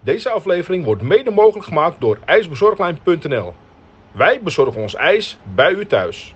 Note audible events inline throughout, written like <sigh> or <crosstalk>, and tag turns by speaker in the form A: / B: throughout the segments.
A: Deze aflevering wordt mede mogelijk gemaakt door ijsbezorglijn.nl. Wij bezorgen ons ijs bij u thuis.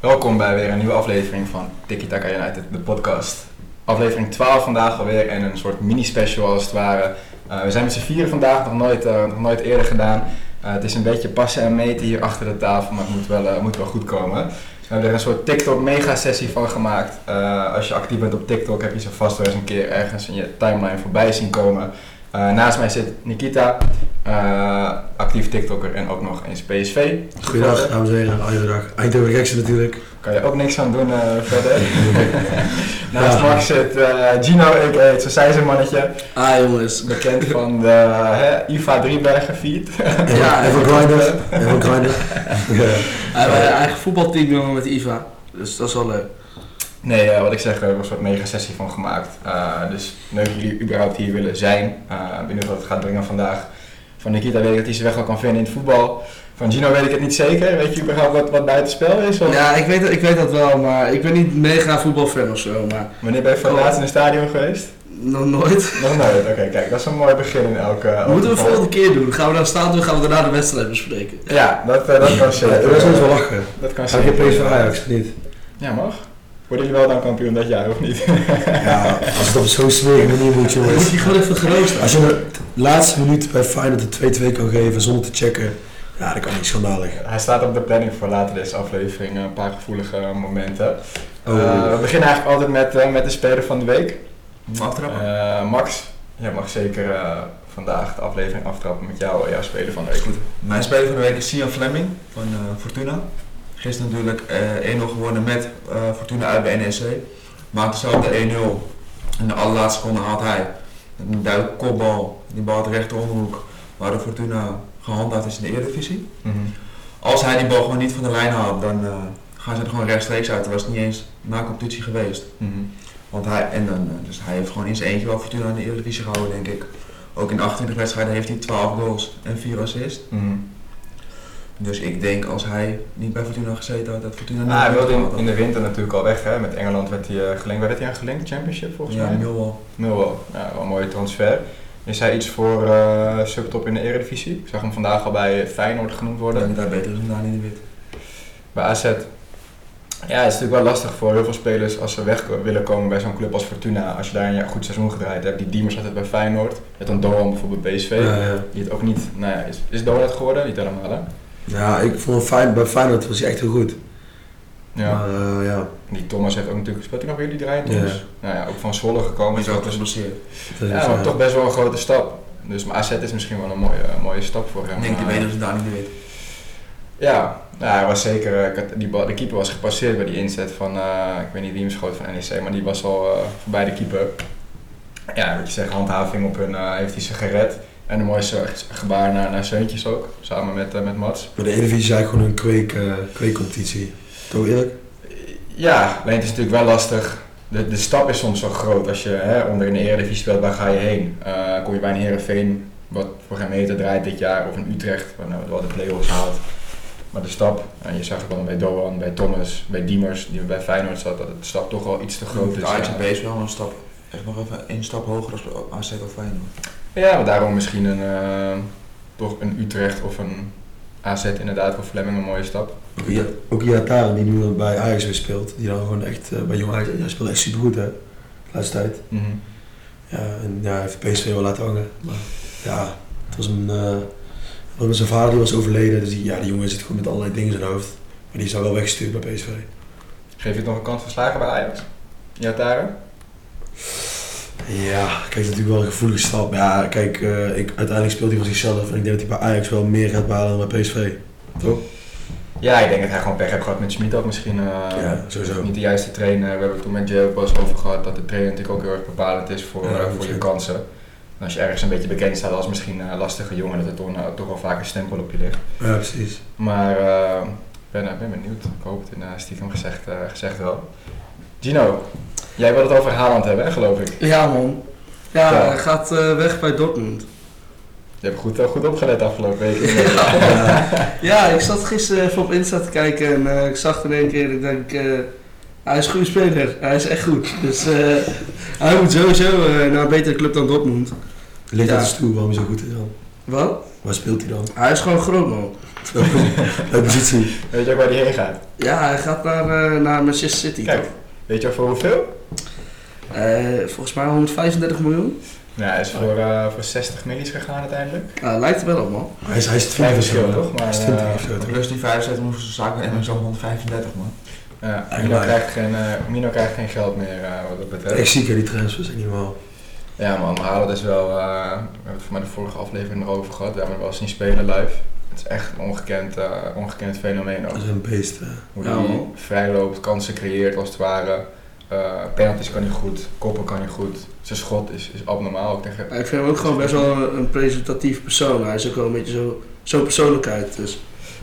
B: Welkom bij weer een nieuwe aflevering van Tiki Taka United, de podcast. Aflevering 12 vandaag alweer en een soort mini-special als het ware. Eh, we zijn met z'n vieren vandaag, nog nooit, eh, nog nooit eerder gedaan. Eh, het is een beetje passen en meten hier achter de tafel, maar het moet wel, eh, moet wel goed komen. We hebben er een soort TikTok-mega-sessie van gemaakt. Eh, als je actief bent op TikTok heb je ze vast wel eens een keer ergens in je timeline voorbij zien komen. Eh, naast mij zit Nikita, eh, actief TikToker en ook nog eens PSV.
C: Goedendag, dames en heren. Goeiedag. Eindhoven Geksen natuurlijk.
B: Kan je ook niks aan doen eh, <laughs> verder. Naast
C: Ja.
B: Max zit eh, Gino, a.k.a. het Sassijzen mannetje.
D: Ah jongens,
B: Bekend van de eh, hè, IFA Driebergen feed.
D: Ja,
C: Ja, even
B: ik-
C: grinder.
D: <laughs>
C: Even grinder. Ja.
D: hij heeft een eigen voetbalteam jongen met Iva. Dus dat is wel leuk.
B: Nee, eh, wat ik zeg, er hebben we een soort mega sessie van gemaakt. Eh, dus leuk dat jullie überhaupt hier willen zijn. Eh, benieuwd wat het gaat brengen vandaag. Van Nikita weet ik dat hij zijn weg wel kan vinden in het voetbal. Van Gino weet ik het niet zeker. Weet je überhaupt wat, wat buitenspel is? Of-
D: Ja, ik weet, ik weet dat wel, maar ik ben niet mega voetbalfan of zo, maar
B: Wanneer ben je voor het laatst in het stadion geweest?
D: nog nooit.
B: Nog nooit. Oké, kijk, dat is een mooi begin in elke... elke
D: Moeten we
B: podcast.
D: volgende keer doen? Gaan we daar staan doen? Gaan we daarna de wedstrijd bespreken?
B: Ja, dat, eh, dat kan
C: Ja,
B: zeker.
C: dat is ons wel lachen.
B: Dat kan
C: Ga je
B: zeker.
C: PSV Ajax? Niet.
B: Ja, mag. Worden jullie wel dan kampioen dat jaar of niet?
C: Ja, als het op zo'n smerige manier moet, jongens.
D: Moet je gewoon even geroost
C: Als je de laatste minuut bij Feyenoord de 2-2 kan geven zonder te checken, ja, dat kan niet schandalig.
B: <laughs> Hij staat op de planning voor later deze aflevering. eh, Een paar gevoelige eh, momenten.
C: Oh.
B: Eh, we beginnen eigenlijk altijd met, eh, met de speler van de week.
D: aftrappen?
B: Eh, Max, jij mag zeker eh, vandaag de aflevering aftrappen met jou, eh, jouw speler van de week.
E: Mijn speler van de week is Sian Fleming van eh, Fortuna. Gisteren natuurlijk eh 1-0 gewonnen met eh, Fortuna uit bij NEC. Maakte zelf de 1-0. In de allerlaatste seconde haalt hij een duidelijke kopbal. Die bal uit de rechter onderhoek. Waardoor Fortuna gehandhaafd is in de Eredivisie.
B: Mhm.
E: Als hij die bal gewoon niet van de lijn haalt, dan eh, gaan ze er gewoon rechtstreeks uit. Er was niet eens na competitie geweest.
B: Mhm.
E: Want hij, en dan, eh, dus hij heeft gewoon in zijn eentje wel Fortuna in de Eredivisie gehouden, denk ik. Ook in 28 wedstrijden heeft hij 12 goals en 4 assists.
B: Mhm.
E: Dus ik denk als hij niet bij Fortuna gezeten had, dat Fortuna
B: Ah, hij wilde in,
E: had.
B: in de winter natuurlijk al weg, hè? Met Engeland werd hij eh, gelinkt. Waar werd hij aan gelinkt? Championship volgens
E: Ja,
B: mij?
E: Millwall.
B: Millwall. Ja, Nou, wel een mooie transfer. Is hij iets voor eh, subtop in de Eredivisie? Ik zag hem vandaag al bij Feyenoord genoemd
E: Ik
B: worden.
E: denk dat hij beter is dan Dani de Wit.
B: Bij AZ. Ja, het is natuurlijk wel lastig voor heel veel spelers als ze weg willen komen bij zo'n club als Fortuna. Als je daar een jaar goed seizoen gedraaid hebt. Die Diemers had het bij Feyenoord. Je had dan Doan bijvoorbeeld bij PSV.
C: Ja, ja.
B: Die het ook niet... Nou ja, is, is Doan het geworden? Niet helemaal, hè?
C: ja, ik vond hem fijn, bij Feyenoord was hij echt heel goed.
B: Ja.
C: Maar, eh, ja,
B: Die Thomas heeft ook natuurlijk gespeeld. Hij nog weer die draaien
C: Ja.
B: Thomas. Nou ja, ook van Zwolle gekomen.
E: Maar is
B: Dus
E: ook
B: dat is-
E: geblesseerd.
C: dat is,
B: ja, maar
C: eh,
B: toch best wel een grote stap. Dus maar AZ is misschien wel een mooie, mooie stap voor hem.
E: Ik denk die
B: Maar,
E: beter is dan Dani de Wit.
B: Ja, nou, hij was zeker. eh, ik had- die bal- de keeper was gepasseerd bij die inzet van. eh, ik weet niet wie hem schoot van NEC, maar die was al eh, voorbij de keeper. Ja, wat je zegt, handhaving op hun. eh, heeft hij ze gered. En een mooi zo- gebaar naar, naar Zeuntjes ook, samen met, eh, met Mats.
C: Maar de Eredivisie is eigenlijk gewoon een kweek, eh, kweekcompetitie. Toch eerlijk?
B: Ja, alleen het is natuurlijk wel lastig. De, de stap is soms zo groot. Als je hè, onder in de Eredivisie speelt, waar ga je heen? Eh, kom je bij een Herenveen, wat voor geen meter draait dit jaar, of een Utrecht, waar nou wel de play-offs haalt. Maar de stap, en je zag het dan bij Doan, bij Thomas, bij Diemers, die bij Feyenoord zat, dat de stap toch wel iets te groot is.
E: De Ajax en
B: dus Ja,
E: PSV wel een stap. Echt nog even één stap hoger dan AZ of Feyenoord.
B: ja maar daarom misschien een, eh, toch een Utrecht of een AZ inderdaad voor Flemming een mooie stap.
C: Ook Ia- Ook Iataren, die nu bij Ajax weer speelt, die dan gewoon echt eh, bij Jong Ajax, hij speelde echt supergoed hè, de laatste tijd. Ja, en ja, hij heeft PSV wel laten hangen. Maar ja, het was een, eh, want zijn vader die was overleden, dus die, ja, die jongen zit gewoon met allerlei dingen in zijn hoofd. Maar die is dan wel weggestuurd bij PSV.
B: Geef je het nog een kans van slagen bij Ajax? Ja, Taren?
C: Ja, kijk, dat is natuurlijk wel een gevoelige stap. Ja, kijk, eh, ik, uiteindelijk speelt hij van zichzelf en ik denk dat hij bij Ajax wel meer gaat behalen dan bij PSV. Toch?
B: Ja, ik denk dat hij gewoon pech heeft gehad met Schmid ook misschien. eh,
C: ja, sowieso.
B: niet de juiste trainer. We hebben het toen met Jay ook wel eens over gehad dat de trainer natuurlijk ook heel erg bepalend is voor,
C: Ja,
B: eh, voor je
C: absoluut.
B: kansen. En als je ergens een beetje bekend staat als misschien een lastige jongen, dat er toch, eh, toch wel vaak een stempel op je ligt.
C: Ja, precies.
B: Maar eh, ik ben, ik ben benieuwd. Ik hoop het in eh, stiekem gezegd, eh, gezegd wel. Gino, jij wil het over Haaland hebben, hè, geloof ik.
D: Ja man. Ja,
B: Ja.
D: hij gaat eh, weg bij Dortmund.
B: Je hebt goed, eh, goed opgelet afgelopen
D: <laughs>
B: week.
D: Ja, ik zat gisteren even op Insta te kijken en eh, ik zag er in één keer en ik denk, eh, hij is een goede speler. Hij is echt goed. Dus eh, hij moet sowieso eh, naar een betere club dan Dortmund. Ligt
C: Ja.
D: dat eens toe waarom hij zo goed is dan?
C: Wat?
D: Waar speelt hij dan?
C: Hij is gewoon groot, man.
D: Welke positie?
B: Weet je ook waar die heen gaat?
C: Ja, hij gaat naar, eh, naar Manchester City.
B: Kijk.
C: toch?
B: Weet je ook voor hoeveel?
C: Eh, volgens mij 135 miljoen.
B: Nou, hij is voor, eh, voor 60 millies gegaan uiteindelijk.
C: Nou, lijkt er wel op, man.
D: Hij is, hij is
B: Klein
D: 20 of
B: verschil
D: zo.
B: toch?
D: Hij
B: Maar,
D: is 20 of
B: eh,
D: zo toch?
F: Plus die 75 moesten ze zaken en dan zo'n 135 man.
B: ja,
D: Ja,
B: Mino,
D: maar-
B: krijgt geen, eh, Mino krijgt geen geld meer eh, wat dat betreft.
D: Ik zie die transfers, echt niet normaal.
B: Ja man, Haaland is wel, eh, we hebben het voor mij de vorige aflevering erover gehad. We hebben hem wel zien spelen live. Het is echt een ongekend, eh, ongekend fenomeen ook.
D: Dat is een beest. eh.
B: Hoe
C: Ja,
B: hij
C: man.
B: vrijloopt, kansen creëert als het ware. Eh penalties kan hij goed, koppen kan hij goed. Zijn schot is, is abnormaal ook tegen...
C: Maar Ik vind hem ook gewoon best wel een, een presentatief persoon. Hij is ook wel een beetje zo- zo'n persoonlijkheid. Dus.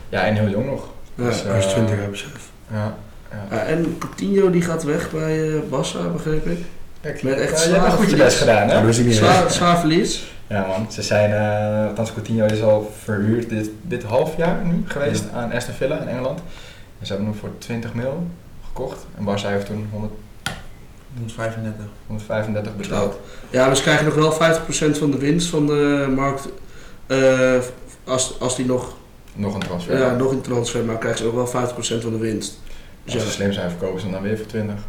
B: Ja, en heel jong nog.
C: Ja.
B: Dus,
D: Hij is
B: eh,
D: 20, hè, besef.
B: Ja. ja.
C: Ja, en Coutinho die gaat weg bij eh Barca, begreep ik.
B: Kijk,
C: Met echt
B: eh, jij
C: zware
B: hebt goed je
C: verlies.
B: best gedaan hè?
D: Dat wist ik niet. hè.
C: Zwaar, zwaar verlies.
B: Ja man, ze zijn, eh althans Coutinho is al verhuurd dit, dit half jaar nu geweest aan Aston Villa in Engeland. En ze hebben hem voor 20 mil gekocht en Barca heeft toen 100,
F: 135.
B: 135 betaald.
C: Ja, maar ze krijgen nog wel 50% van de winst van de markt. eh, als, als die nog,
B: Nog een transfer.
C: ja, nog een transfer maar krijgen ze ook wel 50% van de winst. Dus
B: Als ze
C: ja,
B: slim zijn verkopen ze hem dan weer voor 20.
C: ja,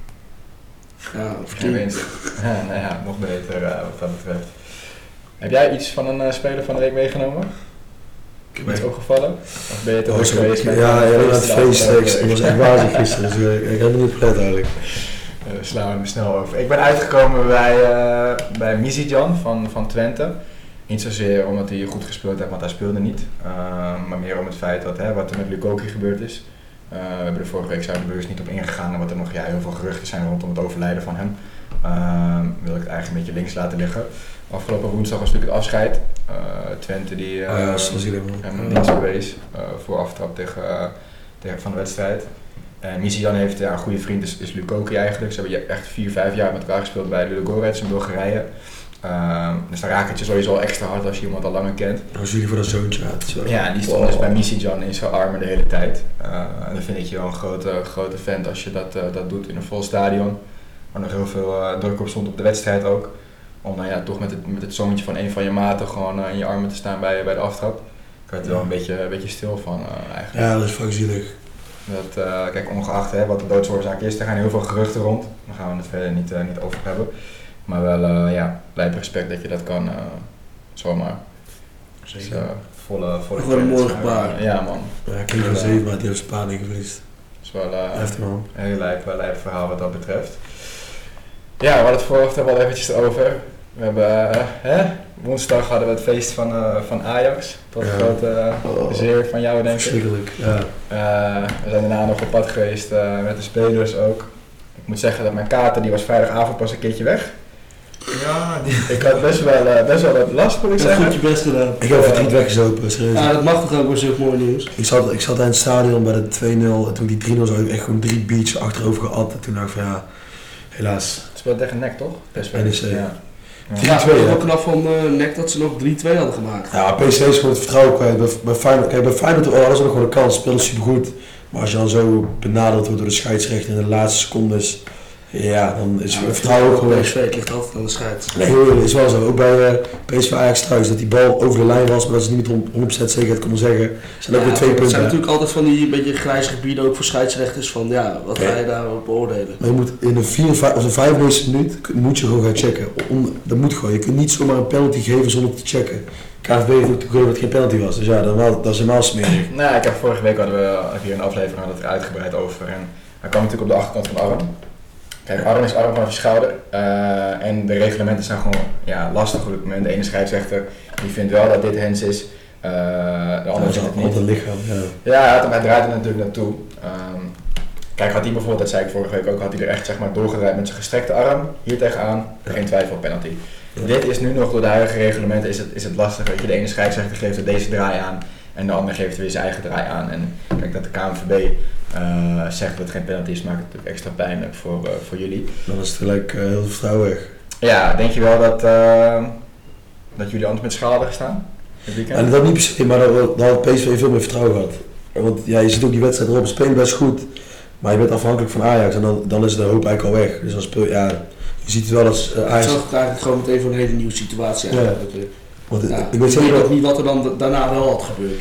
B: Geen
C: Coutinho.
B: winst. <laughs> ja, nou ja, nog beter eh, wat dat betreft. Heb jij iets van een eh, speler van de week meegenomen?
D: Ik heb
B: Iets
D: echt-
B: opgevallen? Of ben je te
D: Oh,
B: druk
D: zo-
B: geweest met
D: Ja,
B: eh,
D: ja, dat
B: feesten de
D: feest.
B: afgelopen week?
D: Dat was echt wazig gisteren. Dus eh, ik heb het niet gelet eigenlijk.
B: Eh, Daar slaan we hem snel over. Ik ben uitgekomen bij, eh bij Mizidjan van, van Twente. Niet zozeer omdat hij goed gespeeld heeft, want hij speelde niet. Eh, maar meer om het feit dat hè, wat er met Lukoki gebeurd is. Eh, we hebben er vorige week zijn we bewust niet op ingegaan, omdat er nog ja, heel veel geruchten zijn rondom het overlijden van hem. Eh, wil ik het eigenlijk een beetje links laten liggen. Afgelopen woensdag was natuurlijk het afscheid. Eh, Twente die eh,
C: Ah
D: Oh ja, zo zie je
B: hem
D: hem.
B: niets bewees eh, voor aftrap tegen, eh, tegen van de wedstrijd. En Misijan heeft ja, een goede vriend, is, is Lukoki eigenlijk. Ze hebben je- echt 4, 5 jaar met elkaar gespeeld bij Ludogorets in Bulgarije. Ehm, dus dan raak het je sowieso al extra hard als je iemand al langer kent.
D: Nou, zie je voor dat zoontje uit. zo.
B: Ja, en die stond dus bij Misijan in zijn armen de hele tijd. Eh, en dan vind ik je wel een grote, grote vent als je dat, eh, dat doet in een vol stadion. Waar nog heel veel eh, druk op stond op de wedstrijd ook. Om dan ja, toch met het, met het zoontje van een van je maten gewoon eh, in je armen te staan bij, bij de aftrap. Ik werd er wel een beetje, een beetje stil van eh, eigenlijk.
D: Ja, dat is fucking zielig.
B: Dat, eh, kijk, ongeacht hè, wat de doodsoorzaak is, er gaan heel veel geruchten rond. Daar gaan we het verder niet, eh, niet over hebben. Maar wel, eh, ja, blijf respect dat je dat kan eh, zomaar. Dus, eh, volle, volle
C: Gewoon een mooi
B: credits.
C: gebaar.
B: Ja, man.
D: Ja, ik kreeg
B: Ja.
D: van 7, maar die heeft zijn paniek verliest.
B: Het is wel eh,
D: Heftig man.
B: een heel lijp, wel lijp verhaal wat dat betreft. Ja, we hadden het vorige wel eventjes over. We hebben, eh, hè? woensdag hadden we het feest van, eh, van Ajax. Tot
D: Ja.
B: grote eh,
D: Oh.
B: zeer van jou, denk ik.
D: Verschrikkelijk. Ja.
B: Eh, we zijn daarna nog op pad geweest eh, met de spelers ook. Ik moet zeggen dat mijn kater, die was vrijdagavond pas een keertje weg.
F: Ja, die...
B: Ik had best wel, eh, best wel wat last, moet ik
C: Je hebt
B: zeggen.
C: goed je best gedaan.
D: Ik heb verdriet weggezopen, serieus.
C: Ja, dat mag toch ook voor zulk mooi nieuws.
D: Ik zat, ik zat aan het stadion bij de 2-0 en toen die 3-0 zag ik echt gewoon drie beats achterover geat. En toen dacht ik van ja, helaas.
B: Het speelt tegen nek, toch? Best wel.
D: NEC.
B: Ja.
C: Ja,
D: 3-2,
C: heel
D: hè?
C: knap van eh NEC dat ze nog 3-2 hadden gemaakt.
D: Ja, PSV is gewoon het vertrouwen kwijt. Bij, bij Feyenoord, kijk, bij Feyenoord oh, hadden ze nog gewoon een kans, speelden supergoed. Maar als je dan zo benaderd wordt door de scheidsrechter in de laatste secondes, ja, dan is het vertrouwen ook gewoon weg.
C: PSV ligt altijd aan de scheids.
D: Nee, joh, is wel zo. Ook bij eh, PSV Ajax thuis, dat die bal over de lijn was, maar dat ze niet met 100% zekerheid konden zeggen. zijn ook
C: Ja,
D: weer twee
C: maar Het
D: punten.
C: zijn
D: hè.
C: natuurlijk altijd van die beetje grijze gebieden, ook voor scheidsrechters, van ja, wat ga je
D: Nee.
C: daarop beoordelen?
D: Maar je moet in de 94 of de 95 minuut k- moet je gewoon gaan checken. Om, dat moet gewoon. Je kunt niet zomaar een penalty geven zonder te checken. KVB heeft ook gegeven dat het geen penalty was. Dus ja, dan wel, dat is helemaal smerig.
B: Nou, ik heb vorige week hadden we hier een aflevering hadden we het er uitgebreid over. En hij kwam natuurlijk op de achterkant van de arm. Kijk, arm is arm van je schouder. eh, en de reglementen zijn gewoon ja, lastig op dit moment. De ene scheidsrechter die vindt wel dat dit hens is. eh, de
D: Dat
B: andere
D: is
B: vindt het niet.
D: altijd een lichaam. Ja.
B: Ja, hij had- hij draait er natuurlijk naartoe. Ehm, kijk, had hij bijvoorbeeld, dat zei ik vorige week ook, had hij er echt zeg maar, doorgedraaid met zijn gestrekte arm, hier tegenaan, geen twijfel penalty.
D: Ja.
B: Dit is nu nog door de huidige reglementen is het, is het lastig. Weet je, de ene scheidsrechter geeft er deze draai aan en de ander geeft er weer zijn eigen draai aan. En kijk, dat de KNVB eh, zegt dat het geen penalty is, maakt het natuurlijk extra pijnlijk voor, eh, voor jullie.
D: Dan is het gelijk eh, heel veel vertrouwen weg.
B: Ja, denk je wel dat, eh, dat jullie anders met schade hadden gestaan? dit weekend?
D: En dat niet per se, maar dat, dat had PSV veel meer vertrouwen gehad. Want ja, je ziet ook die wedstrijd erop, ze spelen best goed. Maar je bent afhankelijk van Ajax en dan, dan is de hoop eigenlijk al weg. Dus dan speel je, ja,
C: Je ziet wel dat eh,
D: Ik
C: Ajax...
D: zag het eigenlijk gewoon meteen voor een hele nieuwe situatie
C: Ja.
D: eigenlijk. Ja.
C: Want, eh,
D: Ja,
C: ik weet zeker
D: ook
C: dat...
D: niet wat er dan da- daarna wel had gebeurd.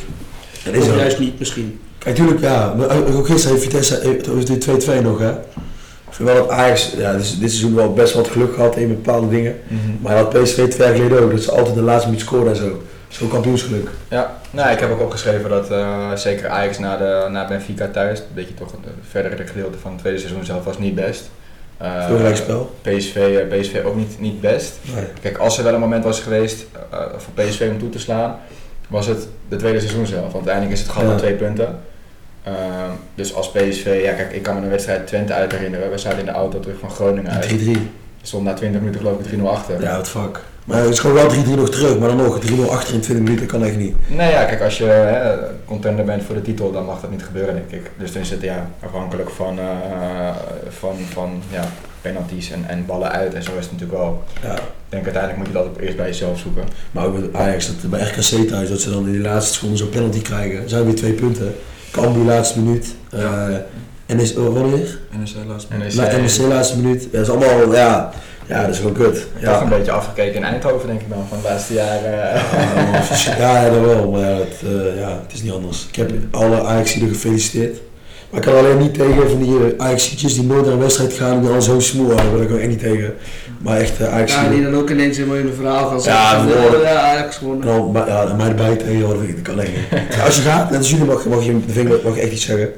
C: Dat
D: Of
C: is er.
D: juist niet misschien.
C: Kijk, tuurlijk, ja. Maar ook ook gisteren heeft Vitesse... eh, Toen was het 2-2 nog, hè. Ik vind wel dat Ajax... Ja, dit, dit seizoen wel best wat geluk gehad in bepaalde dingen.
B: Mhm.
C: Maar dat PSV twee jaar geleden ook. Dat ze altijd de laatste minuut scoren en zo. Zo kampioensgeluk.
B: Ja, nou, ik heb ook opgeschreven dat eh, zeker Ajax na, de, na Benfica thuis, een beetje toch het eh, verdere gedeelte van het tweede seizoen zelf, was niet best. Eh,
C: Veel gelijkspel.
B: PSV, eh, PSV ook niet, niet best.
C: Nee.
B: Kijk, als er wel een moment was geweest eh, voor PSV om toe te slaan, was het de tweede seizoen zelf. Want uiteindelijk is het gat
C: Ja.
B: van twee punten. Ehm, dus als PSV, ja kijk, ik kan me een wedstrijd Twente uit herinneren. We zaten in de auto terug van Groningen uit. Er
C: 3-3.
B: Stond na 20 minuten geloof ik 3-0 achter.
C: Ja, wat fuck. Maar het is gewoon wel 3-3 nog terug, maar dan nog 3-0 achter in 20 minuten kan echt niet.
B: Nou ja, kijk, als je hè, contender bent voor de titel, dan mag dat niet gebeuren, denk ik. Dus dan is het ja, afhankelijk van, eh, van, van ja, penalties en, en ballen uit. En zo is het natuurlijk wel.
C: Ja.
B: Ik denk uiteindelijk moet je dat eerst bij jezelf zoeken.
C: Maar ook met Ajax, dat bij RKC thuis, dat ze dan in die laatste seconde zo'n penalty krijgen. Zijn weer twee punten. Cambuur laatste minuut. eh NS, oh, wanneer?
E: NEC laatst.
B: En is
C: La,
B: eh,
C: NSC laatste minuut. Dat is allemaal, ja, ja, dat is gewoon kut.
B: toch een
C: Ja,
B: beetje afgekeken in Eindhoven, denk ik dan, van de laatste jaren.
C: ja, man, vers- ja, ja, dat wel, maar ja, het, eh, ja, het is niet anders. Ik heb alle ajax gefeliciteerd. Maar ik kan alleen niet tegen van die eh, Ajaxietjes die nooit naar een wedstrijd gaan en die al zo smoel houden. Daar kan ik echt niet tegen. Maar echt eh ajax
D: Ja, die dan ook ineens helemaal in een verhaal gaan
C: Ja,
D: zeggen.
C: dat
D: van,
C: hoor.
D: eh, ja, Ajax gewonnen.
C: Nou, maar, ja, mij erbij tegenwoordig, ik kan echt Als je gaat, net als jullie mag, mag je met de vinger mag je echt iets zeggen.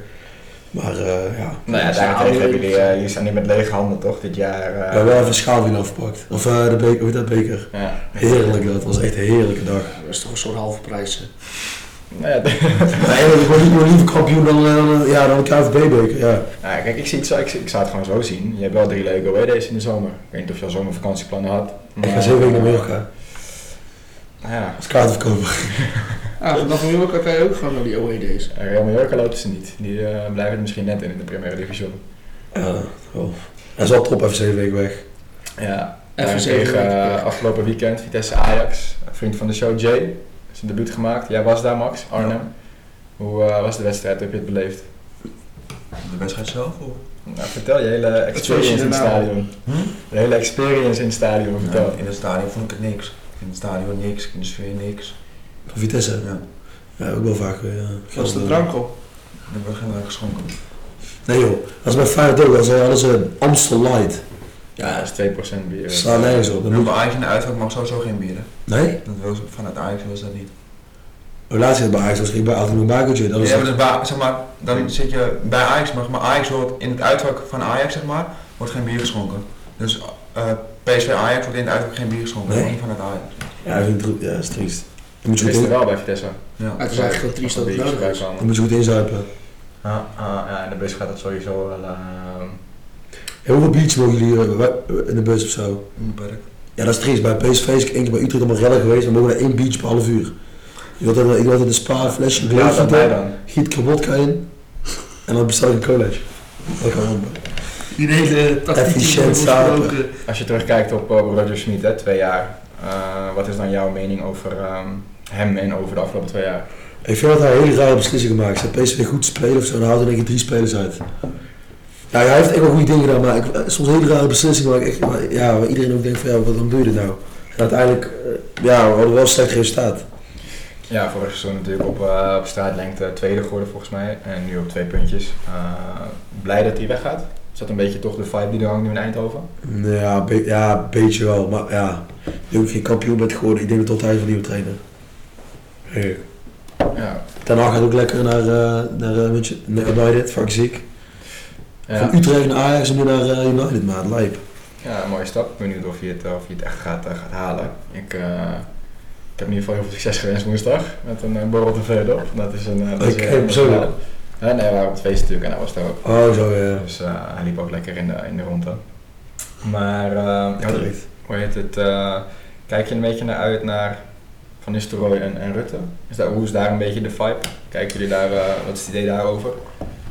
C: Maar eh, ja.
B: <laughs> nou ja, daarentegen hebben jullie, eh, jullie staan niet met lege handen, toch, dit jaar. eh?
C: We hebben wel even een schaalwiel afgepakt. Of eh, de beker, hoe heet dat beker?
B: ja.
C: Heerlijk, dat was echt een heerlijke dag.
D: Dat is toch zo'n halve prijs. hè?
B: Nou ja, <laughs>
C: Maar eigenlijk word ik nog liever kampioen dan, eh, dan- ja, dan een KVB-beker. Ja.
B: Nou, kijk, ik, zie het zo, ik, zie- ik zou het gewoon zo zien. Je hebt wel drie leuke awaydays in de zomer. Ik weet niet of je al zomervakantieplannen had.
C: Ik ga
B: maar-
C: zeven weken naar Mallorca
B: Nou ja,
C: als kaartverkoper.
D: Ah, vanaf New York kan je ook gewoon naar die E away days.
B: Eh, Real Mallorca lopen ze niet. Die eh, blijven er misschien net in, in de Primera Division.
C: Ja, wel. Hij is wel top even zeven weken weg.
B: Ja,
D: Even
B: daarentegen,
D: zeven weken
B: eh,
D: terug.
B: afgelopen weekend Vitesse Ajax. Een vriend van de show, Jay, zijn debuut gemaakt. Jij was daar, Max, Arnhem. Hoe eh, was de wedstrijd? Heb je het beleefd?
E: De wedstrijd zelf? Of?
B: Nou, vertel je hele experience in het
D: daarna?
B: stadion.
E: Hm?
B: De hele experience in het stadion, vertel.
E: in het stadion vond ik het niks. In het stadion niks, in de sfeer niks.
C: Van Vitesse.
E: Ja.
C: Ja, ook wel vaak eh, weer. Ja.
D: Was de drank op?
E: Er werd geen drank geschonken.
C: Nee joh, dat is bij Feyenoord ook. Dat is, eh, dat is een Amstel Light.
B: Ja, dat is 2% bier.
C: Slaat nergens op. Dat
E: En
C: moet...
E: bij Ajax in de uitvak mag sowieso geen bieren.
C: Nee?
E: Dat was, vanuit Ajax was dat niet.
C: Oh, laatst zit bij Ajax, was ik bij Alton een bakertje. Dat
E: Ja,
C: was
E: maar, dus bij, zeg maar, dan zit je bij Ajax, maar, maar Ajax wordt in het uitvak van Ajax, zeg maar, wordt geen bier geschonken. Dus eh, PSV Ajax wordt in het uitvak geen bier geschonken,
C: Nee.
E: alleen vanuit Ajax.
C: ja, ik vind het- ja, dat is triest. Dan moet je
B: Ze
C: goed,
B: wisten
C: in,
B: wel bij Vitesse.
E: Ja.
D: Het is eigenlijk gewoon triest dat het
B: Biertjes
D: nodig
B: voorbij
D: is.
C: dan
B: kwamen.
C: moet je goed inzuipen.
B: Ja, ah, ja, in de bus gaat dat sowieso wel... eh,
C: Ja, hoeveel biertjes mogen jullie eh, wa- in de bus of zo?
E: In het park.
C: Ja, dat is triest. Bij PSV is ik één keer bij Utrecht allemaal rellen geweest. Dan mogen er één biertje per half uur. Je wilt dat, ik wil dat een spa een flesje
B: Ja, dat mij
C: gieten,
B: dan.
C: giet kabodka in. En dan bestel ik een college. Dat kan wel.
D: Die hele tactiek die
C: Efficiënt
D: wordt
C: slapen.
D: gesproken.
B: Als je terugkijkt op eh, Roger Schmid, hè, twee jaar. eh, wat is dan jouw mening over ehm, hem en over de afgelopen twee jaar?
C: Ik vind dat hij een hele rare beslissing gemaakt. Zijn PSV goed spelen of zo, dan haalt hij denk ik drie spelers uit. Ja, hij heeft echt wel goede dingen gedaan, maar ik, eh, soms hele rare beslissingen waar, ik echt, waar- ja, waar iedereen ook denkt van ja, wat dan doe je dit nou? En uiteindelijk, eh, ja, we hadden wel een slecht resultaat.
B: Ja, vorig seizoen natuurlijk op, eh, op straatlengte tweede geworden volgens mij. En nu op twee puntjes. Eh, blij dat hij weggaat. Is dat een beetje toch de vibe die er hangt nu in Eindhoven?
C: Ja, be- ja, een beetje wel, maar ja, nu ook geen kampioen bent geworden, ik denk dat altijd een nieuwe trainer. Hey.
B: Ja.
C: Ten Hag gaat ook lekker naar, eh, naar eh, weet je, naar United, vaak ziek.
B: Ja,
C: Van Utrecht naar Ajax en nu naar eh, United, maat, lijp.
B: ja een mooie stap. Benieuwd of je het, of je het echt gaat, eh, gaat halen. Ik, eh, ik heb in ieder geval heel veel succes gewenst woensdag. Met een eh, borrel te veel op. Dat is een... eh, dat is
C: Ik
B: weer
C: heb
B: een
C: zo-
B: verhaal. Eh, nee, we waren op het feest natuurlijk en hij was daar ook.
C: Oh, zo ja.
B: Dus eh, hij liep ook lekker in de, in de ronde. Maar eh, hoe-
C: Terecht.
B: hoe heet het? eh, kijk je een beetje naar uit naar Van Nistelrooy en, en Rutte? Is daar, hoe is daar een beetje de vibe? Kijken jullie daar, eh, wat is het idee daarover?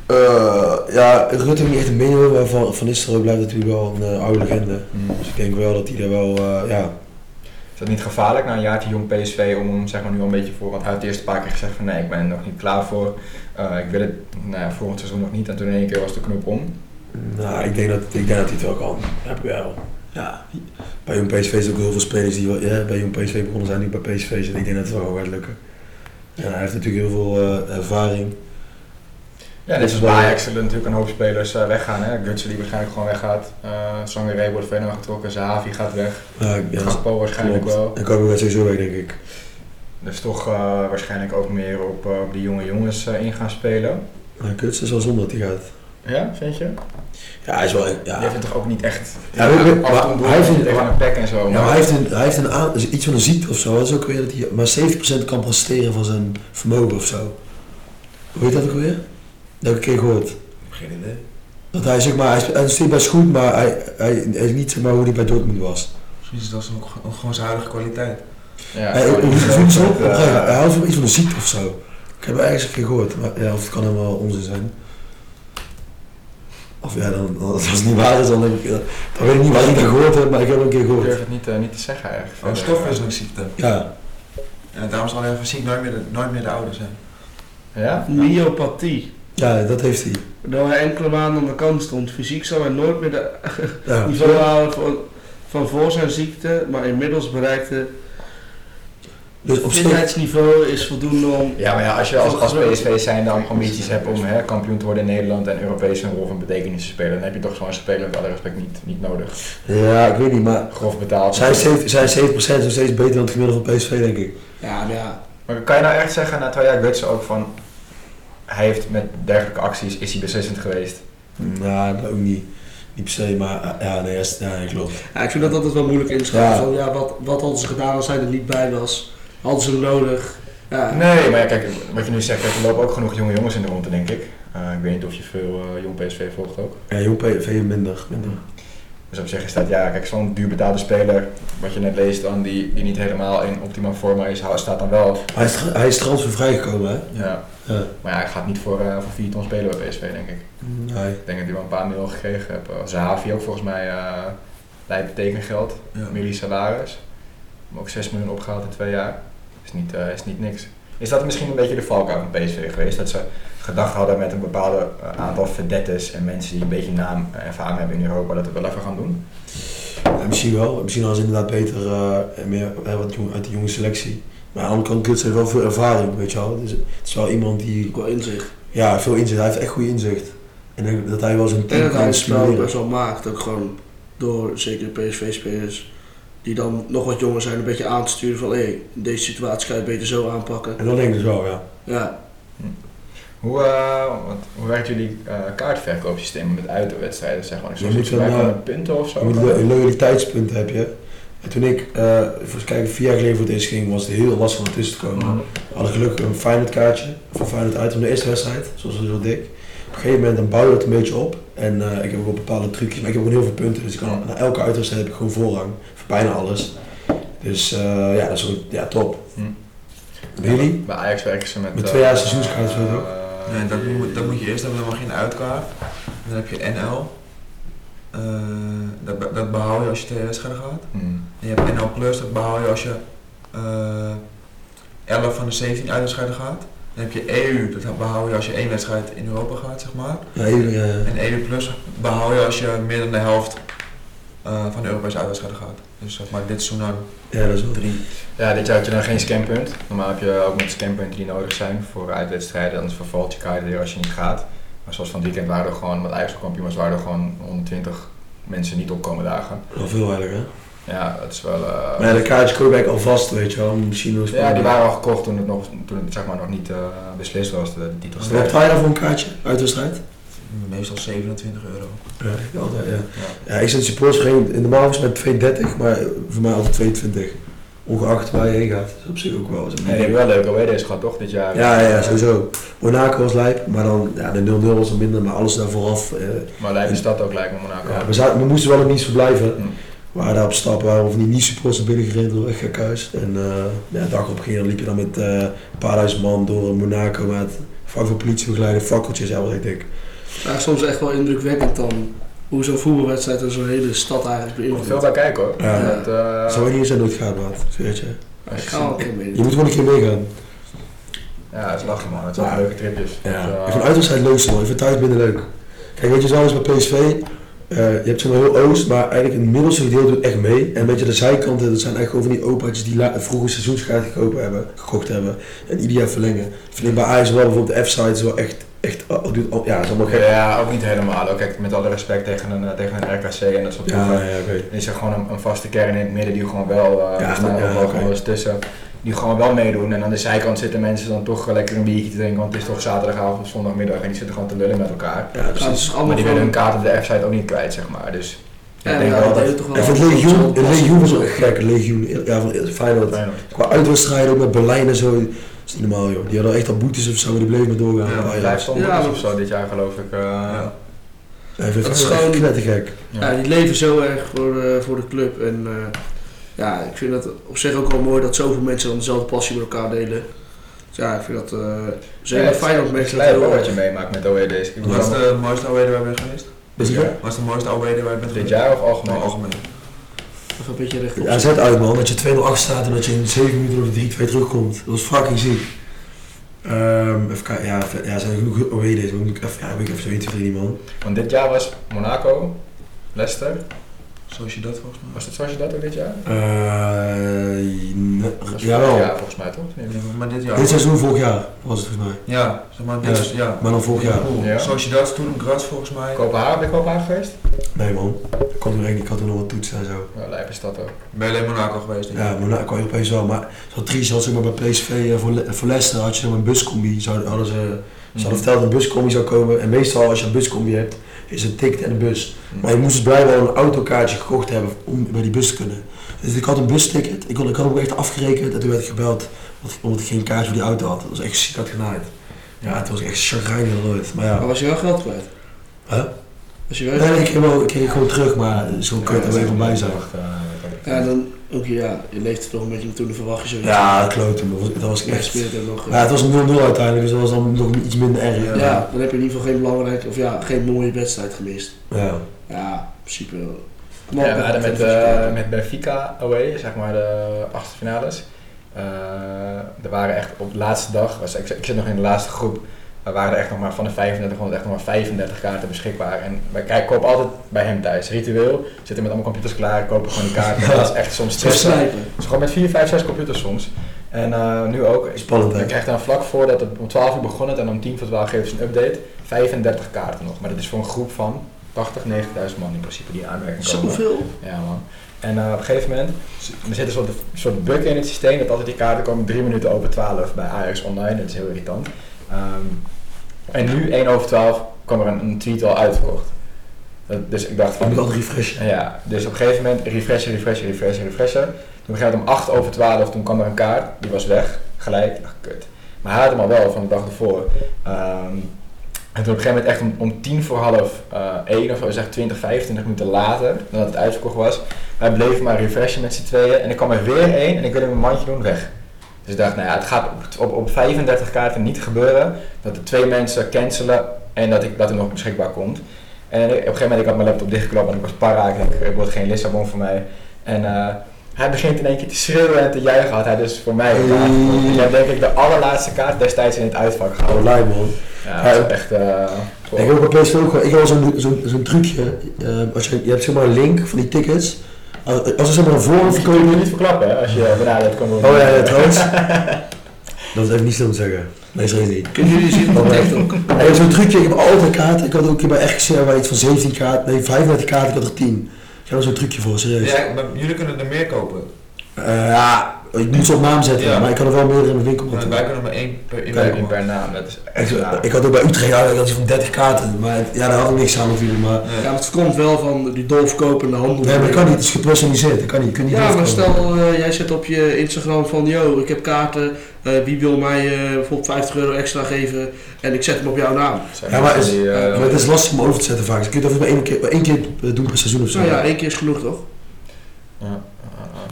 C: Eh, ja, Rutte heeft niet echt een mening over, maar Van, van Nistelrooy blijft natuurlijk wel een eh, oude legende. Dus ik denk wel dat hij daar wel, eh, ja...
B: Is dat niet gevaarlijk na een jaartje jong PSV om hem zeg maar, nu al een beetje voor? Want hij heeft eerst een paar keer gezegd van nee, ik ben er nog niet klaar voor. Eh, ik wil het nou, ja, volgend seizoen nog niet. En toen in één keer was de knop om.
C: Nou, ik denk dat, ik denk dat hij het wel kan. Ja, wel. Ja, bij Jong PSV is ook heel veel spelers die wel, ja, bij Jong PSV begonnen zijn, nu bij PSV zitten. dus Ik denk dat het wel gewoon gaat lukken. En hij heeft natuurlijk heel veel eh, ervaring.
B: Ja, net
C: Dit is
B: als bij
C: wel-
B: Ajax zullen natuurlijk een hoop spelers eh, weggaan. Hè? Gutsen die waarschijnlijk gewoon weggaat. Eh Sangaré wordt verder getrokken. Zahavi gaat weg.
C: Ja, ik- ja, dat
B: Gakpo waarschijnlijk
C: klopt.
B: wel.
C: En Kobe gaat sowieso weg, denk ik.
B: Dus toch eh, waarschijnlijk ook meer op eh, op die jonge jongens eh, in gaan spelen.
C: Maar Kuts is wel zonde dat hij gaat.
B: Ja, vind je?
C: Ja, hij is wel... Ja,
B: Die heeft het toch ook niet echt...
C: Ja, maar- maar-
B: af en toe
C: maar hij vindt-
B: tegen een pek en zo.
C: Ja, maar hij heeft, een, hij heeft een aan- dus iets van een ziekte of zo. Dat is ook weer dat hij maar 7% kan presteren van zijn vermogen of zo. Hoe heet dat ook weer? Dat heb ik een keer gehoord.
E: Geen idee.
C: Dat hij zeg maar, hij is- hij is natuurlijk best goed, maar hij, hij, hij is niet zeg maar hoe hij bij Dortmund was.
E: Misschien is dat ook, ook gewoon zijn huidige kwaliteit.
B: Ja,
C: hij,
B: gewoon
C: hoe-
B: niet
C: hoe
B: zo
C: voelt ze
B: goed,
C: op?
B: eh,
C: hij houdt van iets van een ziekte of zo. Ik heb het ergens een keer gehoord, maar ja, of het kan helemaal onzin zijn. Of ja, dan, als het niet waar is, dan, heb ik, dan weet ik niet waar ik dat gehoord heb, maar ik heb het een keer
B: Ik durf
C: gehoord.
B: het niet, eh, niet te zeggen eigenlijk.
C: Oh,
E: Een
B: Verder, eh,
E: stofwisselingsziekte.
C: Ja,
E: En daarom zal hij fysiek nooit meer, de, nooit meer de oude zijn.
B: Ja?
D: Myopathie.
C: ja, dat heeft hij.
D: Doordat hij enkele maanden aan de kant stond. Fysiek zal hij nooit meer de
C: Ja.
D: niveau halen van, van voor zijn ziekte, maar inmiddels bereikte
C: Dus op zich,
D: Fitheidsniveau is voldoende om.
B: Ja, maar ja, als je als, als PSV zijn dan ambities hebt om hè, kampioen te worden in Nederland en Europees een rol van betekenis te spelen, dan heb je toch zo'n speler met alle respect niet, niet nodig.
C: ja, ik weet niet, maar
B: Grof betaald.
C: zijn 7%, zijn 7 is nog steeds beter dan het gemiddelde van PSV, denk ik.
D: Ja, maar ja.
B: Maar kan je nou echt zeggen na twee jaar Gutsen ook van, hij heeft met dergelijke acties, is hij beslissend geweest?
C: Nou, dat ook niet. Niet per se, maar eh, ja, nee, dat is- ja, nee, klopt.
D: Ja, ik vind dat altijd wel moeilijk inschatten.
C: Ja.
D: Van, ja, wat, wat hadden ze gedaan als hij er niet bij was? Hadden ze hem nodig? Ja.
B: Nee, maar ja, kijk, wat je nu zegt, kijk, er lopen ook genoeg jonge jongens in de rondte, denk ik. Eh, ik weet niet of je veel eh, jong PSV volgt ook.
C: Ja, jong PSV minder. minder.
B: Dus op zich is dat, ja, kijk, zo'n duurbetaalde speler, wat je net leest dan, die, die niet helemaal in optimaal vorm is, hou- staat dan wel.
C: Hij is, tra- hij is transfervrij gekomen, hè?
B: Ja.
C: Ja.
B: Maar ja, ik ga het niet voor, eh voor 4 ton spelen bij PSV, denk ik.
C: Nee.
B: Ik denk dat hij wel een paar mil gekregen heeft. Eh, Zahavi ook volgens mij eh lijp tekengeld,
E: Ja.
B: milli salaris. Maar ook 6 miljoen opgehaald in twee jaar. Is niet, eh, is niet niks. Is dat misschien een beetje de valkuil van PSV geweest? Dat ze gedacht hadden met een bepaalde eh, aantal verdettes en mensen die een beetje naam en faam hebben in Europa dat we wel even gaan doen?
C: Ja, misschien wel. Misschien hadden ze inderdaad beter eh, en meer eh, wat jong, uit de jonge selectie. Maar aan de andere kant Guts heeft wel veel ervaring, weet je wel. Dus het is wel iemand die
D: Ik wel inzicht.
C: ja, veel inzicht. Hij heeft echt goed inzicht. En ik denk dat hij wel zijn
D: Ik denk
C: team
D: dat hij
C: kan
D: het spel
C: stimuleren.
D: best wel maakt. Ook gewoon door zeker PSV-spelers die dan nog wat jonger zijn, een beetje aan te sturen van hé, in deze situatie kan je het beter zo aanpakken.
C: En dat denk ik dus wel, ja.
D: Ja,
B: Hoe, eh, want, hoe werkt jullie eh kaartverkoopsysteem met uitwedstrijden? Zeg maar, ik
C: Je
B: zou
C: moet
B: zeggen, wij
C: dan,
B: komen
C: eh,
B: punten of zo?
C: Je moet lo- loyaliteitspunten heb je. En toen ik, eh voor kijken, vier jaar geleden voor het eerst ging, was het heel lastig om ertussen te
B: Mm-hmm.
C: komen. We hadden gelukkig een Feyenoord kaartje voor Feyenoord uit om de eerste wedstrijd, zoals we zo dik. Op een gegeven moment dan bouw je dat een beetje op. En eh, ik heb ook wel bepaalde trucjes, maar ik heb ook heel veel punten. Dus ik kan, na elke uitwedstrijd heb ik gewoon voorrang voor bijna alles. Dus eh, ja, dat is ook ja, top.
B: Hm.
C: Jullie?
B: eh, Bij Ajax werken ze met...
C: Met twee jaar
B: eh,
C: seizoenskaart, weet je ook.
B: eh,
E: Nee, dat, moet, dat moet je eerst hebben, helemaal geen uitkaart. En Dan heb je NL. Eh, dat, be- dat behoud je als je twee wedstrijden gaat.
B: Hmm.
E: En je hebt NL Plus, dat behoud je als je eh 11 van de 17 uitwedstrijden gaat. Dan heb je EU, dat behoud je als je één wedstrijd in Europa gaat, zeg maar.
C: Ja, jullie eh,
E: En EU Plus behoud je als je meer dan de helft eh, van de Europese uitwedstrijden gaat. Dus zeg maar dit seizoen dan
C: ja, dat is wel
E: drie.
B: Ja, dit jaar had je dan geen scanpunt. Normaal heb je ook nog scanpunten die nodig zijn voor uitwedstrijden. Anders vervalt je kaart weer als je niet gaat. Maar zoals van het weekend waren er gewoon, wat Ajax ook kampioen was, waren er gewoon 120 mensen niet opkomen dagen.
C: wel veel eigenlijk, hè?
B: Ja, dat is wel... eh,
C: Maar ja, de kaartjes koop ik alvast, weet je wel. om Misschien nog
B: ja, die waren al gekocht toen het nog, toen het, zeg maar, nog niet eh, beslist was, de, de
C: Wat heb
B: titelstrijd.
C: jij daarvoor een kaartje? Uitwedstrijd?
E: Meestal 27 euro.
C: Ja, altijd, ja. Ja, ik zit supportersvereniging normaal is het met 2,30, maar voor mij altijd 22. Ongeacht waar je heen gaat. Dat is op zich ook wel.
B: Nee, die hebben wel leuke WD's gehad toch dit jaar?
C: ja, ja, ja, sowieso. Monaco was lijp, maar dan, ja, de 0-0 was er minder, maar alles daar vooraf. eh,
B: Maar lijkt de stad ook lijkt me Monaco.
C: ja, we, zaten, we moesten wel op niets verblijven.
B: Hm.
C: We waren daar op stap, waren of niet, niet supporters naar binnen gereden, weg gek huis. En eh, ja, de dag op ging, liep je dan met eh, een paar duizend man door Monaco met vak van politiebegeleider, fakkeltjes, ja, wat ik denk.
D: maar soms echt wel indrukwekkend dan hoe zo'n voetbalwedstrijd en zo'n hele stad eigenlijk
B: Er komt veel
D: beïnvloedt.
B: bij kijken hoor.
C: Ja.
B: Dat, eh,
C: Zou je niet eens aan nooit gaan, maat, weet je.
B: als je
D: Ik ga wel een
B: ziet-
D: keer
C: Je
D: mee.
C: moet gewoon een keer meegaan.
B: Ja, dat is lachen man. Het zijn
C: Ja.
B: leuke tripjes.
C: Ja,
B: Dus, eh,
C: ik vind uitwedstrijd leuk zo, ik vind thuis minder leuk. Kijk, weet je, zelfs bij PSV, eh, je hebt zeg maar heel Oost, maar eigenlijk het middelste gedeelte doet echt mee. En een beetje de zijkanten, dat zijn echt gewoon van die opaatjes die la- vroeger seizoenskaart gekocht hebben, gekocht hebben. En ieder jaar verlengen. Vind ik bij Ajax wel bijvoorbeeld de F-site is wel echt, echt, oh, doet, al- ja, dat is allemaal gek.
B: Ja, ook niet helemaal. Ook kijk, met alle respect tegen een, eh, tegen een RKC en dat soort
C: Ja,
B: ploegen.
C: ja, ja, oké.
B: is er gewoon een, een vaste kern in het midden die gewoon wel, eh
C: Ja,
B: er staan
C: ja,
B: ook wel
C: oké.
B: gewoon eens tussen, die gewoon wel meedoen. En aan de zijkant zitten mensen dan toch eh, lekker een biertje te drinken, want het is toch zaterdagavond of zondagmiddag en die zitten gewoon te lullen met elkaar.
C: Ja,
D: Ja, het
C: precies.
D: is allemaal
B: Maar die willen hun
D: gewoon-
B: kaart op de F-site ook niet kwijt, zeg maar. Dus
D: Ja,
B: ik denk
D: ja,
B: wel
D: dat
B: dat...
D: heeft toch wel-
C: En van Legioen, het Legioen was wel echt gek. Legioen, ja, van eh, Feyenoord.
B: Feyenoord.
C: Qua uitwedstrijden, ook met Berlijn en zo. Dat is niet normaal, joh. Die hadden echt al boetes of zo, maar die bleven maar doorgaan.
E: Ja,
C: Ja, ja.
B: Vijf stonden
D: Ja,
B: of zo dit jaar geloof ik. eh, ja.
C: Hij vindt
D: Dat
C: het
D: is
C: gewoon
D: gewoon-
C: knettergek.
D: Ja, die leven zo erg voor, eh, voor de club. En eh, ja, ik vind dat op zich ook wel mooi dat zoveel mensen dan dezelfde passie met elkaar delen. Dus ja, ik vind dat eh zeker
B: Ja,
D: fijn dat
B: het is
D: mensen dat
B: lijp
D: heel
B: hoor, wat je
D: erg.
B: meemaakt met OED's. Ik
E: Wat is
B: bedoel,
E: de mooiste away waar je bent geweest?
C: Is het
E: Wat is de mooiste away waar je bent geweest?
B: dit jaar of
E: Gewoon
B: algemeen?
E: algemeen.
D: Even een beetje rechtop.
C: Ja, zet uit man, dat je 2-0 achter staat en dat je in 7 minuten of 3-2 terugkomt. Dat was fucking ziek. Ehm even kijken, ja, ver- ja, er zijn genoeg OED's, maar moet ik even, ja, moet ik even zo in te verdienen man.
B: Want dit jaar was Monaco, Leicester.
E: Zoals je dat volgens mij.
B: Was het zoals je dat ook dit jaar?
C: Eh, ne-
B: Dat was
C: jawel,
B: vorig jaar volgens mij toch? Of niet?
E: Ja, maar dit jaar.
C: dit seizoen vorig jaar was het volgens mij.
E: Ja, zeg maar dit
C: Ja.
E: is- ja.
C: Maar dan vorig jaar.
B: Ja.
E: Zoals je dat toen Gras volgens mij.
B: Kopenhagen, ben je Kopenhagen geweest?
C: Nee man, ik kon toen echt niet, ik had toen nog wat toetsen en zo.
B: Ja, lijpe stad ook.
E: Ben je alleen Monaco geweest? denk ik?
C: Ja, Monaco kwam opeens wel, maar zo triest had ze maar bij PSV eh, voor, Le- voor Leicester had je dan een buscombi, zouden, hadden ze... Ze hadden verteld dat een buscombi zou komen. En meestal als je een buscombi hebt, is het ticket en een bus.
B: Mm.
C: Maar je moest dus blijkbaar een autokaartje gekocht hebben om bij die bus te kunnen. Dus ik had een busticket. Ik, kon, ik had hem echt afgerekend en toen werd ik gebeld. want- Omdat ik geen kaart voor die auto had. Dat was echt ziek had genaaid. Ja, het was echt chagrijnig dan ooit. Maar ja.
D: Maar was je wel geld kwijt?
C: Huh?
D: Was je wel
C: Nee, ik kreeg, wel- ik kreeg gewoon terug, maar zo kut dat we even bij zijn.
B: eh,
D: Ja, dan ook ja, je leeft er nog een beetje naartoe, dan verwacht je zoiets.
C: Ja, dat klote. Dat was, dat was
D: je
C: echt...
D: speelt er nog. eh,
C: Ja, het was een 0-0 uiteindelijk, dus dat was dan nog iets minder erg.
D: ja. dan heb je in ieder geval geen belangrijke, of ja, geen mooie wedstrijd gemist.
C: Ja.
D: Ja, in principe wel.
B: Ja, we hadden met, eh, met Benfica away, zeg maar de achtste finales. Eh, er waren echt op de laatste dag, was, ik, zit- ik zit nog in de laatste groep, er waren er echt nog maar van de 3500 echt nog maar 35 kaarten beschikbaar. En wij kijken, koop altijd bij hem thuis, ritueel. Zitten met allemaal computers klaar, kopen gewoon die kaarten.
C: Ja.
B: Dat is echt soms
D: Zo
B: stress.
D: snijpen.
B: Dus gewoon met 4, 5, 6 computers soms. En eh, nu ook.
C: Spannend, hè?
B: Ik krijg dan vlak voordat het om 12 uur begon het en om 10 voor 12 geven ze een update. 35 kaarten nog. Maar dat is voor een groep van 80, 90.000 man in principe die in aanmerking komen.
D: Zoveel.
B: Ja man. En eh, op een gegeven moment, er zit een soort, een soort bug in het systeem dat altijd die kaarten komen 3 minuten over 12 bij Ajax Online. Dat is heel irritant. Ehm, en nu 1 over 12 kwam er een, een tweet al uitverkocht. Dat- dus ik dacht
C: Ik
B: van,
C: moet altijd refreshen.
B: ja, dus op een gegeven moment refreshen, refreshen, refreshen, refreshen. Toen begrijp om 8 over 12, toen kwam er een kaart, die was weg, gelijk. Ach, kut. Maar hij had hem al wel van de dag ervoor. Ehm, en toen op een gegeven moment echt om, om 10 voor half eh 1 of zo, zeg 20, 25 minuten later, nadat het uitverkocht was. Wij bleven maar refreshen met z'n tweeën en er kwam er weer één en ik wilde mijn mandje doen weg. Dus ik dacht, nou ja, het gaat op, op, op 35 kaarten niet gebeuren dat er twee mensen cancelen en dat, ik, dat er nog beschikbaar komt. En ik- op een gegeven moment, ik had mijn laptop dichtgeklapt en ik was para. Ik denk, er wordt geen Lissabon voor mij. En eh, hij begint in één keer te schreeuwen en te juichen. Had hij dus voor mij een kaart.
C: Mm.
B: Ik heb denk ik de allerlaatste kaart destijds in het uitvak
C: Oh,
B: gehouden.
C: lijp man.
B: Ja, dat is echt... eh,
C: Ik heb ook bij PSV ook wel- ik heb wel zo'n zo'n zo'n trucje. eh, als je, je hebt zeg maar een link van die tickets. Als, als er zeg maar een voorhoofd
B: dat kun je
C: verkopen.
B: niet verklappen hè, als je benaderd kan worden.
C: Oh ja, ja trouwens. Dat is even niet slim te zeggen. Nee, zo is het niet.
D: Kunnen jullie zien
C: Oh,
D: op
C: nee.
D: TikTok?
C: Ik heb zo'n trucje, ik heb altijd kaarten. Ik had ook een keer bij RGC waar iets van 17 kaarten, nee 35 kaarten, ik had er 10. Ik heb er zo'n trucje voor,
B: Dus
C: serieus.
E: Ja, maar jullie kunnen er meer kopen.
C: Eh, ja, ik moet ze op naam zetten,
E: Ja.
C: maar ik had er wel meer in mijn winkel
E: Maar
C: moeten.
E: wij kunnen maar één per in
B: Per,
E: per-
B: per naam, dat is echt
C: Ik,
B: raar.
C: ik had ook bij Utrecht, ja, ik had iets van 30 kaarten. Maar het- ja, daar had ik niks aan natuurlijk. Maar,
E: Ja.
D: Ja, maar het komt wel van die dolfkopende handel.
C: nee, maar dat kan niet, het is gepersonaliseerd. Dat kan niet, je kunt niet
D: Ja, maar
C: overkomen.
D: stel, eh, jij zet op je Instagram van, yo, ik heb kaarten, eh, wie wil mij eh, bijvoorbeeld 50 euro extra geven en ik zet hem op jouw naam.
B: Zijn
C: Ja, maar
B: mensen
C: is-
B: die, eh,
C: Maar het is lastig om over te zetten vaak. Dus je kunt dat maar één keer, maar één keer eh, doen per seizoen of zo.
D: Nou ja, één keer is genoeg toch?
B: ja, ja, ja.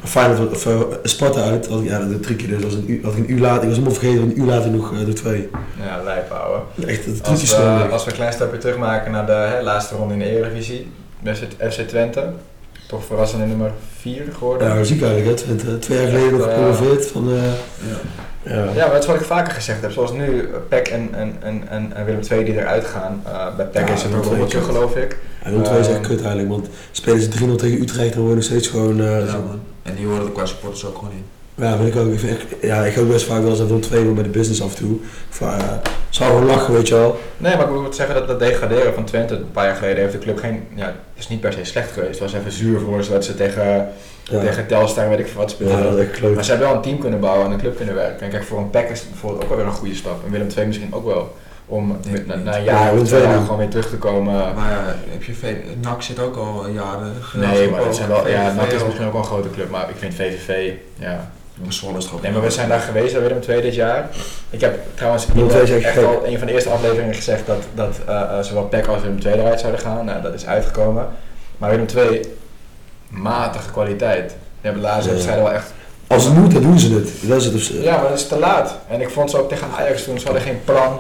C: Feyenoord of eh, Sparta uit, had ik- ja, dat trucje dus, was een uur, had ik een uur later, ik was helemaal vergeten, een uur later nog eh, de twee.
B: Ja, lijp houden.
C: Echt, dat trucje
B: Als eh,
C: stond
B: we,
C: er.
B: als we een klein stapje terugmaken naar de hè, laatste ronde in de Eredivisie. Met het FC Twente. Toch verrassende nummer 4 geworden.
C: Ja,
B: Ja.
C: maar ziek eigenlijk, hè. Twente, twee jaar geleden nog
B: Ja.
C: gepromoveerd van, eh, ja.
B: maar dat is wat ik vaker gezegd heb. Zoals nu, eh, PEC en, en, en, en, en Willem II die eruit gaan. Eh, bij PEC
C: Ja,
B: is het een
C: Willem II
B: robotje
C: kent.
B: geloof ik.
C: En 0-2 is echt kut eigenlijk, want spelen ze 3-0 tegen Utrecht, dan worden nog steeds gewoon... eh,
E: Ja, man. En die horen er qua supporters ook gewoon in.
C: Ja, vind ik ook. Ik, vind echt- ja, ik ga ook best vaak wel eens even om twee uur bij de business af en toe. Van, eh, zou gewoon lachen, weet je wel.
B: Nee, maar ik wil zeggen dat dat degraderen van Twente een paar jaar geleden heeft de club geen. Ja, is niet per se slecht geweest. Het was even zuur voor ze dat ze tegen,
C: Ja,
B: tegen Telstar, weet ik veel wat
C: ja
B: speelden.
C: dat is echt kloot.
B: Maar ze hebben wel een team kunnen bouwen en een club kunnen werken. En kijk, voor een Pack is het bijvoorbeeld ook wel weer een goede stap. En Willem II misschien ook wel. Om
E: Denk ik
B: na,
E: niet.
B: na een
C: Ja,
B: jaar
C: Willem
B: of twee
C: II
B: jaar
C: niet.
B: gewoon weer terug te komen.
E: Maar ja, heb je v NAC zit ook al jaren.
B: Nee, maar dat zijn wel. Ja,
E: VVV
B: NAC is
E: ook.
B: misschien ook wel een grote club, maar ik vind VVV. Ja.
E: Maar Zwolle is toch ook.
B: Nee, maar we zijn daar geweest bij Willem II dit jaar. Ik heb trouwens
C: Willem II is echt
B: echt
C: gek.
B: al een van de eerste afleveringen gezegd dat, dat eh, eh, zowel PEC als Willem II eruit zouden gaan. Nou, dat is uitgekomen. Maar Willem II, matige kwaliteit. Die hebben de laatste
C: Ja.
B: wedstrijden wel echt...
C: Als het moet, dan doen ze het. Dat is het op zich.
B: Ja, maar dat is te laat. En ik vond ze ook tegen Ajax toen, ze hadden geen plan.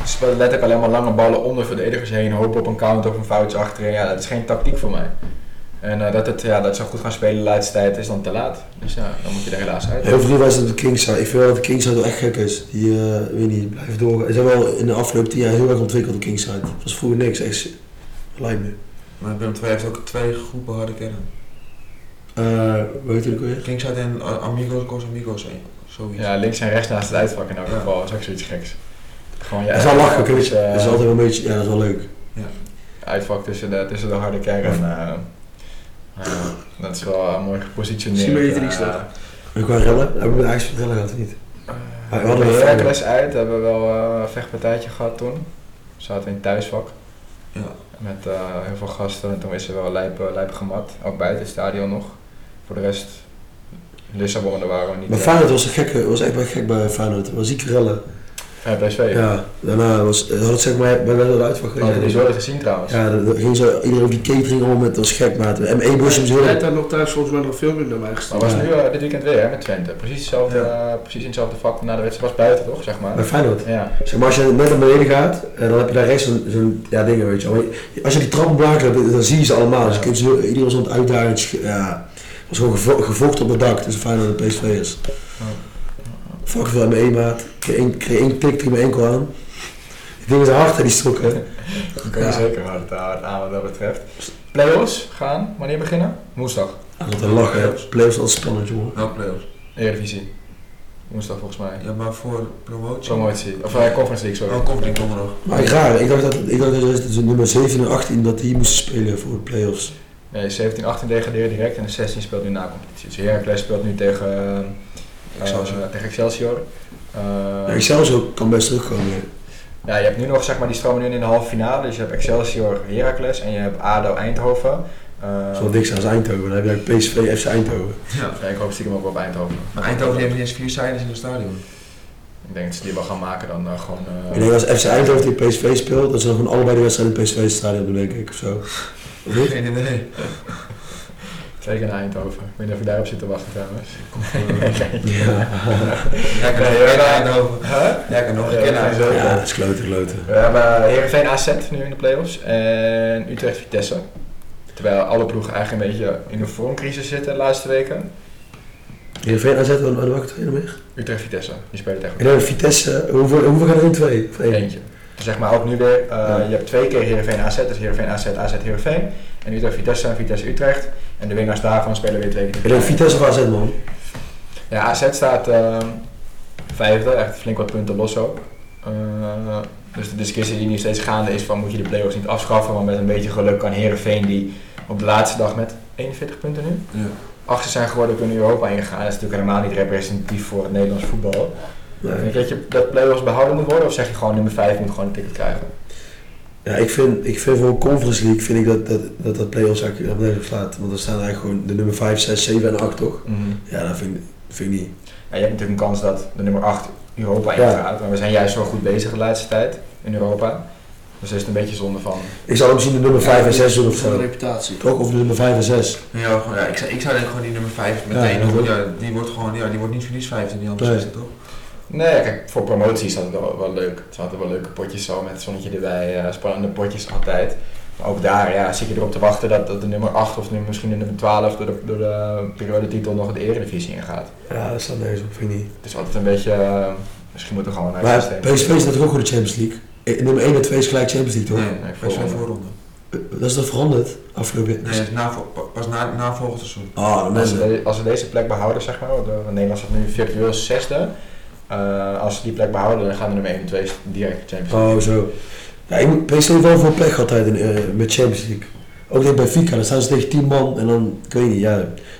B: Ze speelden letterlijk alleen maar lange ballen om de verdedigers heen, hopen op een counter of een foutje achterin. Ja, dat is geen tactiek voor mij. En eh, dat, het, ja, dat ze goed gaan spelen de laatste tijd is dan te laat. Dus ja, dan moet je er helaas uit.
C: Heel veel was het op de Kingside. Ik vind wel dat de Kingside wel echt gek is. Die, eh weet niet, blijft doorgaan. Ze hebben wel in de afgelopen tien jaar heel erg ontwikkeld, de Kingside. Dat was vroeger niks, echt. Lijkt me.
E: Maar Willem II heeft ook twee groepen harde kennen.
C: Eh hoe heet die ook alweer?
E: Ging uit en uh, Amigos, Cos Amigos, eh, zoiets.
B: Ja, links en rechts naast het uitvak in elk
E: Ja.
B: geval. Dat is ook zoiets geks. Gewoon je
C: Dat is wel lachen,
B: uitvak
C: weet je.
B: tussen,
C: Dat is eh, altijd wel een beetje, ja, dat is wel leuk.
B: eh, uitvak tussen de, tussen de harde kern. En, eh, eh, dat is wel eh, mooi gepositioneerd.
D: Symmetrisch,
B: Eh,
D: toch?
C: En qua rellen, hebben we eigenlijk rellen gehad of niet?
B: eh,
C: Maar we
B: we
C: hadden
B: hadden
C: wel
B: Heracles uit. Hebben we wel eh, een vechtpartijtje gehad toen. Zaten we in het thuisvak.
E: Ja.
B: Met eh, heel veel gasten. En toen is er wel lijp, eh, lijp gemat. Ook buiten het stadion nog. Voor de rest... Lissabon, daar waren we niet.
C: Maar
B: eh,
C: Feyenoord was, een gekke, was echt wel gek bij Feyenoord. Er was ziek rellen.
B: bij PSV.
C: Ja, daarna was, eh, had het zeg maar, bij wel uit van
B: Hadden die
C: geweest.
B: zoiets gezien trouwens.
C: Ja, dan dan ging zo iedereen op die catering om, het was gek, maat. M1-bus om
D: Jij
C: zo.
D: hebt daar nog thuis volgens mij nog veel meer naar mij
B: Maar
D: gestuurd.
B: was
C: Ja.
B: nu eh, dit weekend weer hè, met Twente. Precies, hetzelfde,
E: Ja.
B: eh, precies in hetzelfde vak na de wedstrijd. Was buiten toch, zeg maar.
C: Bij Feyenoord.
B: Ja.
C: Zeg maar, als je net naar beneden gaat, eh, dan heb je daar rechts zo'n zo'n- ja, dingen, weet je wel. Maar je- Als je die trappen blaakt, dan, dan zie je ze allemaal. Dus
B: Ja.
C: je kunt ze, heel- iedereen was aan het uitdagen. Het sch- Ja, het was gewoon gevo gevochten op het dak tussen Feyenoord en PSV'ers.
B: Ja.
C: Fuck veel aan mijn één maat. Ik kreeg één- ik kreeg één tik tegen mijn enkel aan. Ik denk dat ze hard hè, die stok, hè.
B: Dat kan je
C: Ja.
B: zeker hard, hard aan wat dat betreft. Playoffs gaan, wanneer beginnen? Woensdag.
C: Altijd lachen, hè. Playoffs altijd spannend, jongen.
E: Nou, playoffs.
B: Eredivisie. Woensdag volgens mij.
E: Ja, maar voor promotie.
B: Promotie. Of eh, Conference League, sorry.
E: Oh, komt die nog.
C: Maar raar, ik dacht dat, ik dacht dat ze nummer 17 en 18 dat die moesten spelen voor de playoffs.
B: Nee, 17, 18 degraderen direct en de 16 speelt nu na competitie. Dus Heracles speelt nu tegen, eh,
E: Excelsior.
B: eh, tegen Excelsior. Eh,
C: Ja, Excelsior kan best terugkomen. hè.
B: Ja, je hebt nu nog, zeg maar, die stromen nu in de halve finale. Dus je hebt Excelsior, Heracles en je hebt ADO Eindhoven. Eh,
C: Dat is wel dik zijn als Eindhoven. Dan heb je eigenlijk PSV, FC Eindhoven.
E: Ja.
B: ja, ik hoop stiekem ook wel op Eindhoven.
E: Maar Eindhoven heeft niet eens vier zijdes in het stadion.
B: Ik denk dat ze die wel gaan maken dan eh, gewoon... eh,
C: Ik denk als FC Eindhoven tegen PSV speelt, dat ze dan gewoon allebei de wedstrijd in PSV stadion doen, denk ik, of
B: <laughs>
C: zo. Of niet?
E: Geen idee.
B: Zeker naar Eindhoven. Ik weet niet of ik daarop zit te wachten trouwens.
C: Ja,
E: Jij kan nog
B: Nee, eh,
E: kennen
B: ja.
E: Eindhoven. Jij kan nog
B: Ja,
E: kennen
B: ja,
E: Eindhoven.
B: zeker.
C: ja dat is kloten, kloten.
B: We hebben Heerenveen AZ nu in de play-offs en Utrecht Vitesse. Terwijl alle ploegen eigenlijk een beetje in een vormcrisis zitten de laatste weken.
C: Heerenveen AZ, wat wat welke trainer meer?
B: Utrecht Vitesse, die spelen tegen
C: En dan Vitesse, eh, hoeveel, hoeveel gaan er in? Twee? Of één?
B: eentje. Dus zeg maar ook nu weer, eh,
C: Ja.
B: je hebt twee keer Heerenveen AZ, dus Heerenveen AZ, AZ Heerenveen. En Utrecht Vitesse en Vitesse Utrecht. En de winnaars daarvan spelen weer twee keer. tegen
C: Ik denk
B: elkaar.
C: Vitesse of AZ, man.
B: Ja, AZ staat ehm, vijfde, echt flink wat punten los ook. Eh, dus de discussie die nu steeds gaande is van moet je de play-offs niet afschaffen, want met een beetje geluk kan Herenveen die op de laatste dag met 41 punten nu
E: Ja.
B: achter zijn geworden kunnen Europa ingaan. Dat is natuurlijk helemaal niet representatief voor het Nederlands voetbal.
C: Nee.
B: Vind je dat je dat play-offs behouden moet worden of zeg je gewoon nummer 5 moet gewoon een ticket krijgen?
C: Ja, ik vind, ik vind voor een Conference League vind ik dat dat, dat, dat play-offs eigenlijk naar beneden slaat. Want dan staan eigenlijk gewoon de nummer 5, 6, 7 en 8, toch? Ja, dat vind ik, vind ik niet.
B: Ja, je hebt natuurlijk een kans dat de nummer 8 Europa
C: Ja.
B: ingaat, maar we zijn juist zo goed bezig de laatste tijd in Europa. Dus daar is het een beetje zonde van.
C: Ik zou ook zien de nummer 5 en 6 doen of
D: Van de
C: zo.
D: reputatie.
C: Toch? Of de nummer 5 en 6.
E: Ja, gewoon, ja, ik, zou, ik zou denk gewoon die nummer 5
C: Ja,
E: meteen
C: dat
E: doen.
C: wordt-
E: Ja, die wordt gewoon, ja, die wordt niet verlies 5 en die andere
C: Nee.
E: 6 toch?
B: Nee, kijk, voor promotie is dat wel, wel leuk. Het zijn altijd wel leuke potjes zo, met zonnetje erbij, eh, spannende potjes altijd. Maar ook daar ja, zit je erop te wachten dat, dat de nummer 8 of nu misschien de nummer 12 door de, door de periodetitel nog de eredivisie ingaat.
C: Ja, dat staat nergens op, vind ik niet.
B: Het is altijd een beetje, eh, misschien moeten we gewoon naar het
C: Maar
B: systeem.
C: PSV is natuurlijk ook goed in de Champions League. Eh, Nummer 1 en 2 is gelijk Champions League, toch? Eh,
E: Nee,
B: nee,
E: best wel
B: voorronde.
E: voorronde.
C: Dat is dat veranderd afgelopen
E: Nee, dat is na, vo- pas na, na volgend seizoen.
C: Ah, de
B: Als we,
C: mensen.
B: de- als we deze plek behouden, zeg maar, want de- Nederland staat nu virtueel zesde. Eh, als we die plek behouden, dan gaan we nummer 1 en 2 direct Champions League.
C: Oh, zo. Ja, ik moet- PSV heeft wel veel pech altijd in, eh, met Champions League. Ook tegen Benfica, dan staan ze tegen 10 man en dan, ik weet niet, ja.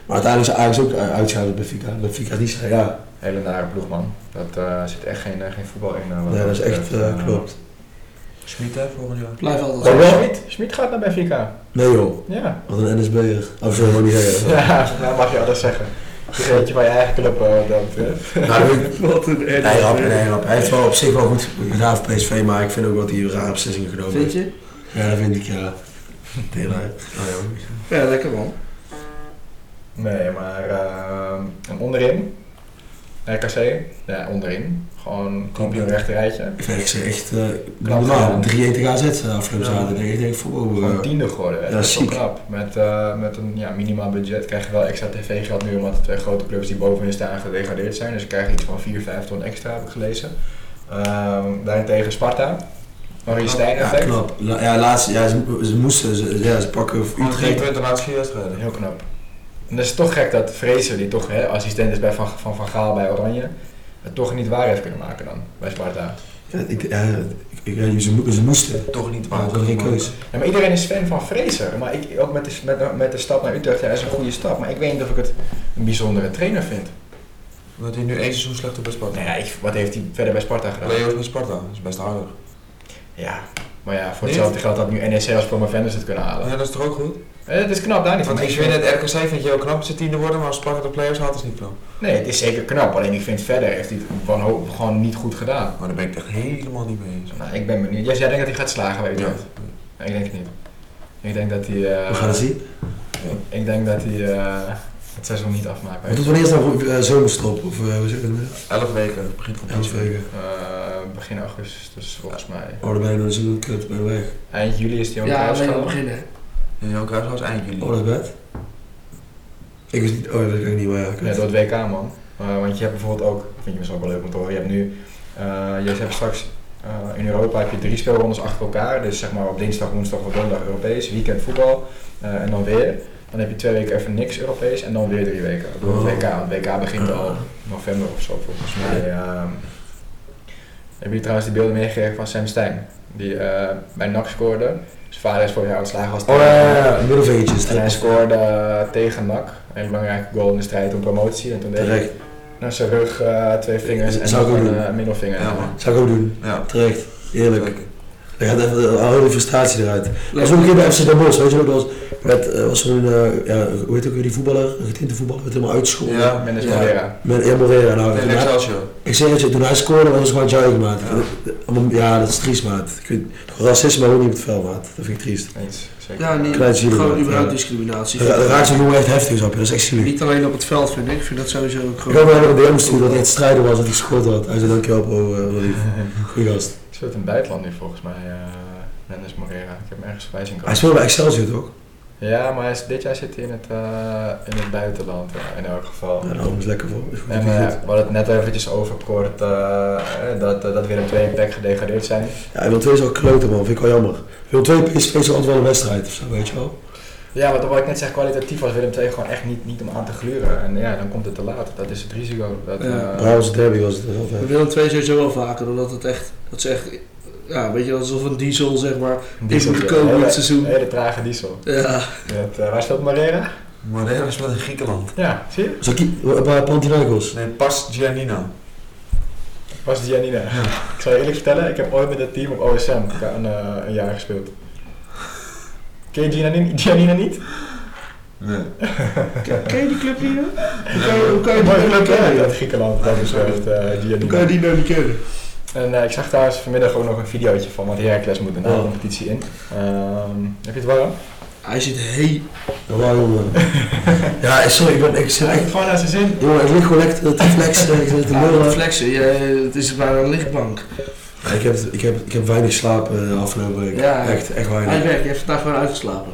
C: Maar uiteindelijk is Ajax ook eh, uitschakeld bij Benfica. Benfica is niet zo, ja.
B: Hele nare ploeg, man. Dat eh, zit echt geen, eh, geen voetbal in. eh, wat
C: Nee, dat is echt,
B: betreft.
C: eh,
B: Eh,
C: klopt.
E: Schmid hè, volgend jaar.
D: Blijf altijd
C: Oh, wel?
B: Schmid, Schmid gaat naar Benfica.
C: Nee joh,
B: Ja.
C: wat een NSB'er. Oh, sorry, mag ik niet zeggen.
B: <laughs> Ja, nou mag je alles <laughs> zeggen. Vergeet je van je eigen club eh, wat dat betreft.
C: Nou, ik-
D: Wat een
C: Nee, rap, nee, rap. Hij heeft wel op zich wel goed gedaan voor PSV, maar ik vind ook wat hij rare beslissingen genomen
D: Vind
C: heeft.
D: je?
C: Ja, dat vind ik, ja. Tela. Oh, ja. hoor.
D: Ja, lekker man.
B: Nee, maar eh, en onderin. RKC. Ja, onderin. Gewoon op je rechter rijtje.
C: Ik vind ze echt eh,
B: Knap
C: normaal.
B: gedaan.
C: 3-1 te gaan zetten afgelopen
B: Ja.
C: zaterdag. Ik denk van, wow,
B: Gewoon
C: eh,
B: tiende geworden. hè.
C: ja,
B: dat is wel
C: ziek.
B: knap. Met, eh, met een ja, minimaal budget krijg je wel extra tv-geld nu, omdat de twee grote clubs die bovenin staan gedegradeerd zijn. Dus dan krijg je iets van 4, 5 ton extra, heb ik gelezen. Ehm, daarentegen Sparta. Marie Stijn
C: ja,
B: effect.
C: knap. La- ja, laatst, ja, ze, ze moesten, ze, ja, ze pakken voor
E: Gewoon drie
C: Utrecht.
E: punten laatste vier wedstrijden.
B: Heel knap. En dat is toch gek dat Fraser, die toch hè, assistent is bij van, van Van Gaal bij Oranje, het toch niet waar heeft kunnen maken dan bij Sparta.
C: Ja, ik, ja, ik, ja, ze, mo- ze moesten.
E: Toch niet
C: Maar
E: waar.
C: ze hadden geen keus.
B: Ja, maar iedereen is fan van Fraser. Maar ik, ook met de, met, met de stap naar Utrecht, ja, dat is een goede stap. Maar ik weet niet of ik het een bijzondere trainer vind.
E: Omdat hij nu één seizoen slechter bij Sparta.
B: Nou ja, ik- wat heeft hij verder bij Sparta gedaan?
E: Leo is bij Sparta, dat is best aardig.
B: Ja, maar ja, voor
E: Niet?
B: hetzelfde geld had nu NEC als promovendus het kunnen halen.
E: Ja, dat is toch ook goed?
B: Eh, Het is knap daar niet van.
E: Want ik vind het RKC vind je heel knap dat ze tiende worden, maar als Sparta de players haalt is niet knap.
B: Nee, het is zeker knap. Alleen ik vind verder heeft hij het wanho- gewoon niet goed gedaan.
E: Maar daar ben ik het echt helemaal niet mee eens.
B: Nou, ik ben benieuwd. Jij jij denkt dat hij gaat slagen bij Utrecht? Nee, ik denk het niet. Ik denk dat hij... eh,
C: We gaan het zien.
B: Ik denk dat hij eh, het seizoen niet afmaakt. bij
C: Wat doet wanneer is dan eh, zomerstop? Of eh, hoe zeg je dat?
E: Elf weken, het begin van het
C: Elf weken.
B: Eh, begin augustus volgens mij.
C: Oh, dan ben je dan zo kut, ben je weg.
B: Eind juli is die ook
D: Ja, alleen aan het
B: uitgegaan.
D: begin hè.
E: Ja, Jan Kruijs was eind juli.
C: Oh, dat bed? Ik wist niet, oh, dat weet ik niet, maar ja, kut.
B: Ja, door het WK man. Eh, want je hebt bijvoorbeeld ook, vind je misschien ook wel leuk om te horen, je hebt nu, eh, je hebt straks eh, in Europa heb je drie speelrondes achter elkaar. Dus zeg maar op dinsdag, woensdag of donderdag Europees, weekend voetbal eh, en dan weer. Dan heb je twee weken even niks Europees en dan weer drie weken door het
C: Oh.
B: WK. Want het WK begint al november of zo volgens mij. eh. heb je trouwens die beelden meegekregen van Sam Stein? Die eh, bij NAC scoorde. Zijn vader is vorig jaar ontslagen als
C: Oh ja, ja, ja, middelvingertjes.
B: En hij scoorde eh, tegen NAC. Een hele belangrijke goal in de strijd om promotie. En toen deed hij
C: Terecht.
B: naar zijn rug eh, twee vingers en
C: Zou ik
B: nog
C: ook
B: een
C: doen.
B: eh, middelvinger.
E: Ja, man.
C: Zou ik ook doen.
E: Ja,
C: Terecht. Eerlijk.
E: zeker.
C: Er gaat even eh, al de frustratie eruit. Dat was ook
D: Lekker.
C: een keer bij FC Den Bosch, weet je wel. Dat was, met, eh, was zo'n, eh, ja, hoe heet ook weer die voetballer? Een getinte voetballer, werd helemaal uitgescholden.
E: Ja.
B: Mendes
E: Ja.
B: Pereira.
C: Met Emel Moreira. Nou,
E: En
C: toen hij-
E: Excelsior.
C: ik zeg het je, toen hij scoorde was het gewoon juichen, maat.
E: Ja.
C: Ja. dat is triest, maat. Ik vind, racisme ook niet op het veld, maat. Dat vind ik triest.
B: Eens, zeker.
D: Ja,
B: <laughs>
D: niet,
C: Klein zielig,
D: gewoon
C: ja.
D: überhaupt discriminatie.
C: Er ra- er raakt zo'n jongen echt heftig zo op, dat is echt zielig.
D: Niet alleen op het veld vind ik, ik vind dat sowieso ook
C: Ik hoop dat
D: gewoon...
C: hij nog een DM stuurde dat hij het strijden was dat hij gescoord had. Hij zei dankjewel bro, eh, Rollief. Goeie gast.
B: Speelt in het buitenland nu volgens mij, eh, Mendes Moreira. Ik heb hem ergens voorbij zien
C: Hij
B: komen.
C: speelde bij Excelsior toch?
B: Ja, maar hij is- dit jaar zit hij in het, eh, in het buitenland eh, in elk geval.
C: Ja, daarom is het lekker voor. Is goed,
B: En
C: is
B: eh,
C: goed.
B: we hadden het net eventjes over kort eh, eh, dat, eh, dat Willem II en PEC gedegradeerd zijn.
C: Ja, Willem II is ook kloten man, vind ik wel jammer. Willem II PSV is altijd wel een wedstrijd of zo, weet je wel.
B: Ja, want wat ik net zeg, kwalitatief was Willem II gewoon echt niet, niet om aan te gluren. En ja, dan komt het te laat. Dat is het risico. Dat,
D: Ja.
B: eh,
C: Bij onze derby was het wel
D: We
C: vet.
D: willen twee sowieso wel vaker, omdat het echt... Dat is echt, ja, weet je, alsof een diesel, zeg maar.
B: diesel-
D: moet komen
B: hele-
D: dit seizoen.
B: Hele trage diesel.
D: Ja,
B: Met, eh, waar speelt Marera?
E: Moreira speelt in Griekenland.
B: Ja, zie je?
C: Zal ik die- bij Panathinaikos?
E: Nee, Pas Giannina.
B: Was Giannina. Ik zal je eerlijk vertellen, ik heb ooit met dat team op OSM een, eh, een jaar gespeeld. Ken je Giannina, Giannina niet?
E: Nee.
D: <laughs> ken je die club hier? Hoe kan je, hoe kan je
B: Een
D: die
B: mooie
D: nou
B: club hè,
D: niet
B: dat
D: kennen?
B: Griekenland, dat is echt eh
D: Hoe kan je
B: Giannina.
D: die nou niet kennen?
B: En eh, ik zag trouwens vanmiddag ook nog een videootje van, want Heracles moet een
C: Oh.
B: competitie in. Ehm, heb je het warm?
D: Hij zit heel...
C: Ja, waar jongen. <laughs> Ja, eh, sorry, ik ben ik zit echt...
B: gewoon naar zijn zin.
C: Jongen, ik lig gewoon lekker te flexen, ik zit te
D: Ja,
C: lullen.
D: reflexen, je, het is bijna een lichtbank.
C: Ja, Ik heb, ik, heb, ik heb weinig slaap eh, de afgelopen week.
D: Ja.
C: Echt, echt
D: Hij
C: weinig.
D: werkt, je hebt vandaag gewoon uitgeslapen.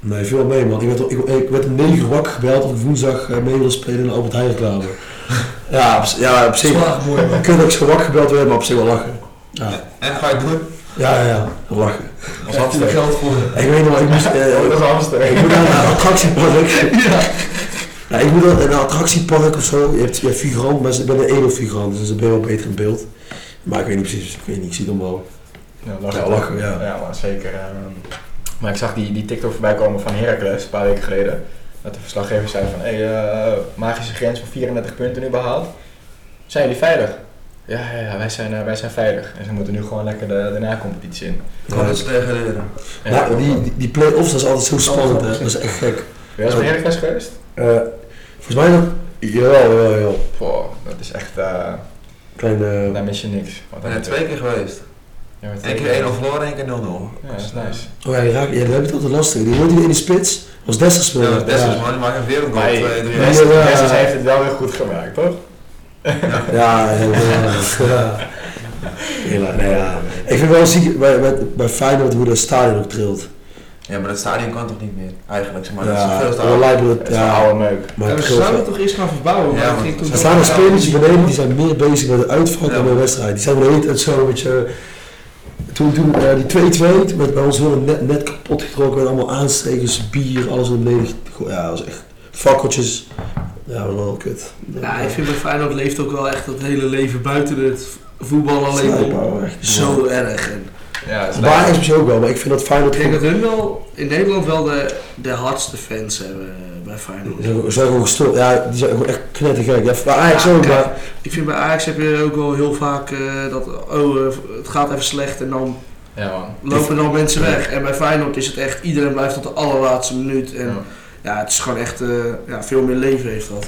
C: Nee, veel mee man. Ik werd, ik, ik werd om 9 uur wakker gebeld of ik woensdag eh, mee wil spelen in de Albert Heijn reclame. Ja, op, z- ja, op zich.
D: Zwaar mooi, man.
C: Ik kan ook zo wakker gebeld worden, maar op zich wel lachen. Ja.
E: En ga je doen?
C: Ja, ja, ja. Lachen.
B: Als hamster.
D: geld voor.
C: Ik weet nog, ik moest... eh,
B: Oh, dat is hamster.
C: Ik moet aan een attractiepark. Ja. ik moet aan een attractiepark of zo. Je hebt, je hebt figurant, maar ik ben een ene figurant, dus dan ben je wel beter in beeld. Maar ik weet niet precies, ik weet niet, ik zie het allemaal.
B: Ja,
C: Ja, lachen, ja.
B: maar zeker. ehm. maar ik zag die, die TikTok voorbij komen van Heracles een paar weken geleden. Dat de verslaggever zei van, hé, hey, eh, magische grens van 34 punten nu behaald. Zijn jullie veilig? Ja, ja, ja, wij zijn, eh, wij zijn veilig. En ze moeten nu gewoon lekker de, de na-competitie in.
E: Ik kan het ze tegen leren.
B: Ja,
C: Nou, dus- die, die, die play-offs, dat is altijd zo spannend, hè. dat is echt
B: Ben
C: gek.
B: je wel eens bij Heracles geweest?
C: Eh, volgens mij nog... Jawel, jawel, jawel.
B: Boah, dat is echt, eh,
C: Klein, eh,
B: daar mis je niks. Want
E: Ik
B: dan
E: ben er
B: moet je-
E: twee keer geweest.
B: Ja, maar
E: Eén
B: twee
E: keer 1 0 verloren, één keer 0-0.
B: Ja, dat is nice.
C: oh ja, die raak, ja, dat heb ik altijd lastig. Die wordt hier in de spits, was Dessers
E: Ja,
C: speler.
E: dat is man. Die maken weer een goal.
B: Maar hey,
E: Twee, drie.
B: Dessers-
C: Ja.
B: Dessers heeft het wel weer goed gemaakt, toch?
C: Ja, heel erg. <laughs> Ja. Heel erg, nou ja. Ik vind wel ziek bij, bij, bij Feyenoord hoe dat stadion ook trilt.
E: Ja, maar dat stadion kan toch niet meer? Eigenlijk, zeg maar. Dat is
C: Ja,
E: veel te
C: wel
E: oud.
C: lijkt me
B: Het
C: dat...
B: is een
C: Ja,
B: oude meuk.
C: maar
D: Ja,
C: het trilt
D: we zouden
C: wel.
D: het toch eerst gaan verbouwen, maar
E: Ja,
D: dat
E: want
D: ging toen
E: ze
C: Er staan er
D: niet.
C: spelers beneden die zijn meer bezig met de uitvak
E: Ja.
C: dan met de wedstrijd. Die zijn er niet uit zo met je. Toen, toen eh, die 2-2, met bij ons willen net, net kapot getrokken en allemaal aanstekers, bier, alles naar beneden. gegooid. Ja, dat was echt fakkeltjes. Ja, dat was wel kut.
D: Ja, ik vind bij Feyenoord leeft ook wel echt dat hele leven buiten het voetbal alleen om.
C: Slijpbouw, echt.
D: Zo erg. En
B: Ja, dat is
C: Waar
B: nice.
C: is misschien ook wel, maar ik vind dat Feyenoord...
D: ik denk dat hun wel in Nederland wel de, de hardste fans hebben eh, bij Feyenoord.
C: Die zijn gewoon- zijn gewoon gestoord. Ja, die zijn gewoon echt knettergek. Ja, maar Ajax
D: Ja,
C: ook,
D: kijk.
C: maar...
D: Ik vind bij Ajax heb je ook wel heel vaak eh, dat oh, eh, het gaat even slecht en dan
B: Ja, man.
D: lopen dan mensen weg. En bij Feyenoord is het echt, iedereen blijft tot de allerlaatste minuut. En
B: Ja.
D: ja, het is gewoon echt, eh, ja, veel meer leven heeft dat.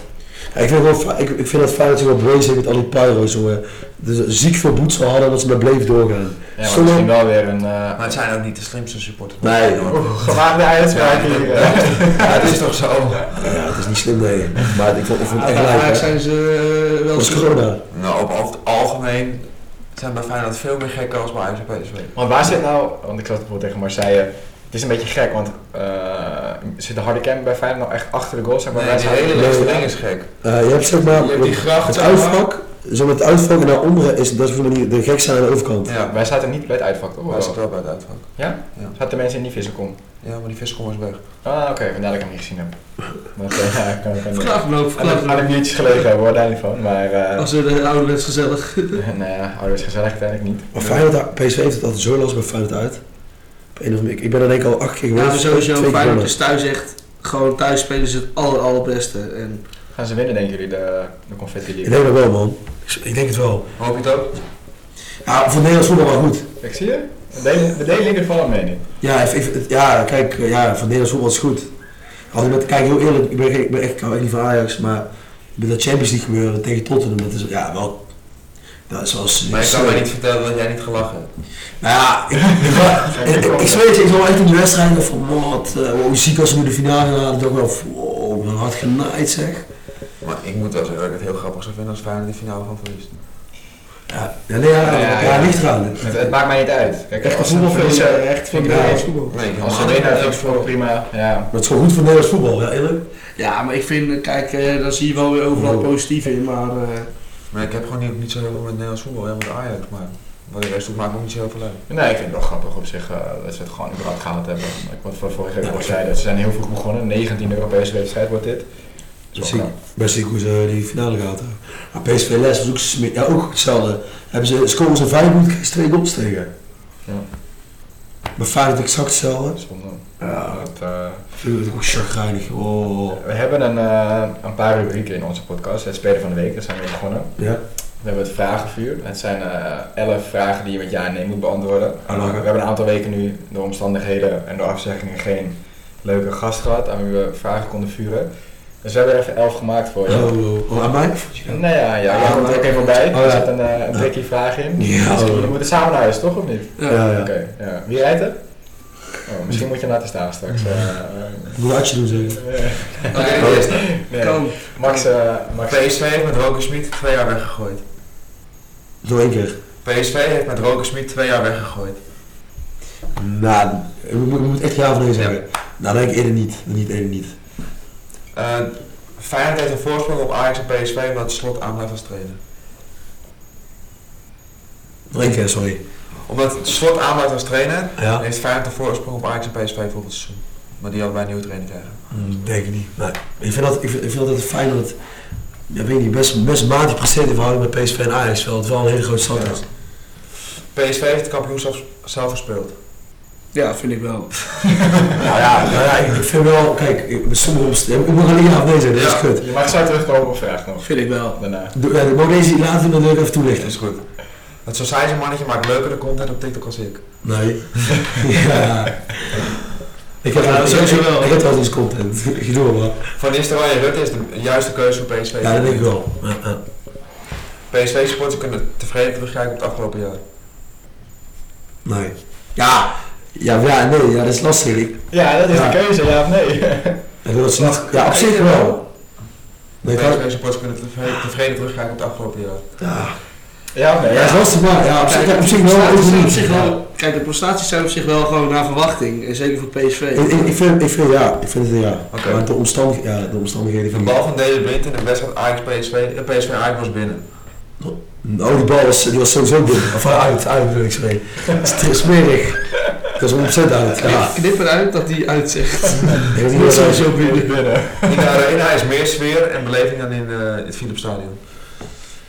C: Ja, ik, vind wel, ik, ik vind dat Feyenoord zich wel bewezen heeft met al die pyro's. jongen. Dus ziek veel boetsel hadden dat ze maar bleven doorgaan.
B: Ja, maar
C: Zullen-
B: misschien wel weer een... eh, <laughs>
E: Maar het zijn ook niet de slimste supporters.
C: Nee,
E: hoor.
B: Gemaakte uitspraak hier.
E: Ja, het is toch zo?
C: Ja, het is niet slim, nee. Maar ik vond, ik vond het
D: Bij
C: echt leuk.
D: Ajax
C: hè.
D: zijn ze eh, wel
C: Dat is
D: zo-
C: corona.
E: Nou, op over het algemeen zijn bij Feyenoord veel meer gekken als bij Ajax en PSV.
B: <laughs> Want waar zit nou, want ik zat bijvoorbeeld tegen Marseille, het is een beetje gek, want eh, zit de harde kern bij Feyenoord nou echt achter de goal? Zeg maar,
E: Nee, die hele
C: Nee.
E: links ding is gek.
C: Eh, je hebt zeg maar
B: Je hebt die gracht,
C: het
B: zeg maar.
C: uitvak. Zeg maar, het uitvak en naar onderen is dat is voor mij de gekste aan de overkant.
E: Ja,
B: Wij zaten niet bij het uitvak, toch?
E: hij
B: Of
E: zat
B: wel?
E: wel bij het uitvak.
B: Zaten mensen in die vissenkom?
E: Ja, maar die viskom is weg.
B: Ah, oké, vandaar dat ik hem niet gezien heb. Want eh, ja, ik kan ik kan niet.
D: Verklaar me ook,
B: Aan de- aan
D: verklaar
B: de
D: me.
B: biertjes gelegen hebben hoor, daar niet van, maar eh
E: <laughs>
D: Als we de ouderwets gezellig.
B: nou ja, ouders gezellig uiteindelijk niet.
C: Maar Feyenoord, PSV heeft het altijd zo last bij Feyenoord uit. Op een of andere- ik- Ik ben er denk ik al acht keer
D: Ja,
C: geweest.
D: maar sowieso,
C: twee keer
D: Feyenoord
C: gewonnen.
D: is thuis echt, gewoon thuis spelen ze het aller, allerbeste. En
B: Gaan ze winnen, denken jullie, de, de confetti
C: Ik
B: league?
C: denk dat wel, man. Ik- Ik denk het wel.
E: Hoop je het ook?
C: Ja, voor Nederlands voetbal wel goed.
B: Ik zie je, we delen- we delen in ieder geval een mening.
C: Ja, ik- ik- ja kijk, eh, ja, voor Nederlands voetbal is het goed. Als ik met, kijk, heel eerlijk, ik ben, geen- ik ben echt, ik hou echt niet van Ajax, maar met dat Champions League gebeuren tegen Tottenham, dat is ja, wel... Dat is wel...
E: Maar je kan
C: zo-
E: mij niet vertellen dat jij niet gelachen hebt.
C: Nou ja, ik,
B: <laughs>
C: ik, ik, ik zweer het je, ik zal echt in de wedstrijd nog van, man, wat, eh, wow, ziek als we nu de finale gaan, dan wel, van, wow, dan had genaaid zeg.
E: Maar ik moet wel zeggen dat ik het heel grappig zou vinden als Feyenoord die finale van verliest.
C: Ja, ja, nee, ja,
B: Ja,
C: ja,
B: ja,
C: ja,
B: ja.
C: ligt eraan.
B: Het, het maakt mij niet uit. Kijk,
D: echt
B: als
D: voetbal
B: ze verliezen,
D: echt
B: vind ik
D: van-
B: wel.
D: voetbal.
E: Nee,
B: als ze winnen, vind ik het wel prima. Ja,
C: Dat is gewoon goed voor Nederlands voetbal, ja eerlijk.
D: Ja, maar ik vind, eh, kijk, eh, daar zie je wel weer overal
C: Oh.
D: positief in, maar eh,
E: Maar ik heb gewoon niet, niet zo heel veel met Nederlands voetbal, helemaal met Ajax. Maar wat de rest doet maakt me ook niet zo heel veel uit.
B: Nee, ik vind het wel grappig op zich eh, dat ze het gewoon überhaupt gehaald hebben. Ik wat voor vorige week al zei, dat ze zijn heel vroeg begonnen. 19 Europese wedstrijd wordt dit.
C: Dat
B: Dus
C: zie ik. Bij Sikus eh die finale gehad hebben. Maar PSV Les was ook, sme- ja, ook hetzelfde. Hebben ze, scoren ze vijf minuten, kregen ze twee goals tegen.
B: Ja.
C: Maar Feyenoord exact hetzelfde.
B: zonde.
C: Ja.
B: Dat, eh,
C: Vind ik het ook chagrijnig. Oh.
B: we hebben een, eh, een paar rubrieken in onze podcast. Het Spelen van de Week, daar zijn we mee begonnen.
C: Ja.
B: We hebben het vragenvuur. Het zijn eh, 11 vragen die je met ja en nee moet beantwoorden.
C: Oh, lachen.
B: we hebben een aantal weken nu door omstandigheden en door afzeggingen geen leuke gast gehad aan wie we vragen konden vuren. Dus we hebben er even 11 gemaakt voor je.
C: Oh, oh, oh, aan mij?
B: Nou ja, ja, jij
C: Ah,
B: komt er ook
C: maar-
B: even bij.
C: Oh,
B: Er
C: ja.
B: zit een, eh, een
C: Ja.
B: tricky vraag in.
C: Ja,
B: Dus
C: hoor.
B: we moeten samen naar huis, toch? Of niet?
D: ja.
C: Ja, ja.
B: Oké, ja. Wie rijdt er? Oh, misschien moet je hem laten staan straks. Eh,
C: Ik moet een hartje doen zeggen.
B: eh,
E: Oké, de
D: dus,
E: eerste.
B: nee.
D: kan.
B: Max, eh, Max.
E: PSV heeft met Roker Smit twee jaar weggegooid.
C: Nog één keer.
E: PSV heeft met Roker Smit twee jaar weggegooid.
C: Nou, ik moet, ik moet echt ja of nee zeggen. Nou, denk ik eerder niet. Niet eerder niet.
E: Eh Feyenoord heeft een voorsprong op Ajax en PSV, wat slot aan blijft als trainer.
C: Nog één keer, sorry.
E: Omdat Slot aanbouwt als trainer,
C: Ja.
E: heeft 50 voorsprong op Ajax en PSV volgend seizoen. Maar die hadden wij een nieuwe trainer krijgen.
C: Mm, Denk ik niet. Nee. Ik, vind dat, ik, vind, ik vind dat het fijn dat het, ja, weet ik niet, best, best matig presteert in verhouding met PSV en Ajax. Terwijl het wel een hele grote stap
E: Ja.
C: is.
E: PSV heeft het kampioenschap zelf gespeeld.
D: Ja, vind ik wel.
C: Nou ja, nou ja, ik vind wel, kijk, ik, met sommige opst- ik moet alleen afwezig, zijn, dat is
E: Ja.
C: kut.
B: Je mag zo terugkomen op vraag nog.
D: Vind ik wel.
B: Daarna.
C: Doe- eh, Ik moet deze later natuurlijk even
E: Dat
C: toelichten.
E: is goed. Want zo zijn ze mannetje maakt leukere content op TikTok als ik.
C: Nee. <laughs> ja. Ik heb
D: Ja,
C: wel-
D: sowieso wel.
C: Ik heb wel eens content. <laughs> Ik doe wel.
E: Van Nistelrooy en Rutte is de juiste keuze voor PSV.
C: Ja, dat denk ik wel. Ja, ja.
E: PSV-supporters kunnen tevreden terugkijken op het afgelopen jaar.
C: Nee. Ja. Ja, ja, nee, ja, dat is lastig. Ik,
B: Ja, dat is
C: Ja.
B: de keuze, ja of nee? <laughs>
C: ik wil dat ze niet- Ja, op zich wel. Nee, ik had-
E: PSV-supporters kunnen tevreden, tevreden terugkijken op het afgelopen jaar.
C: ja.
B: ja of nee?
C: Ja, dat is lastig, maar ja, op zich,
D: Kijk,
C: op
D: de
C: zich wel.
D: prestaties zijn
C: overnieuw.
D: op zich wel- Kijk, de prestaties zijn op zich wel gewoon naar verwachting. En zeker voor PSV.
C: Ik, ik, ik, vind, ik vind ja, ik vind het ja.
E: Oké.
C: Maar de, omstandig, ja, de omstandigheden
E: De
C: vind
E: bal
C: ik.
E: van Daily Blind in de wedstrijd Ajax-PSV en PSV-Ajax was binnen.
C: Oh, die bal was, die was sowieso binnen. Of eh, uit, uit bedoel ik sorry. Het is smerig. Dat is ontzettend uit. Ja.
D: Knip- Knip eruit dat die uitzegt.
C: <laughs> Ik weet niet
D: Die
C: wat
D: is
C: dat is.
D: sowieso binnen.
E: In de arena is meer sfeer en beleving dan in eh, het Philips Stadion.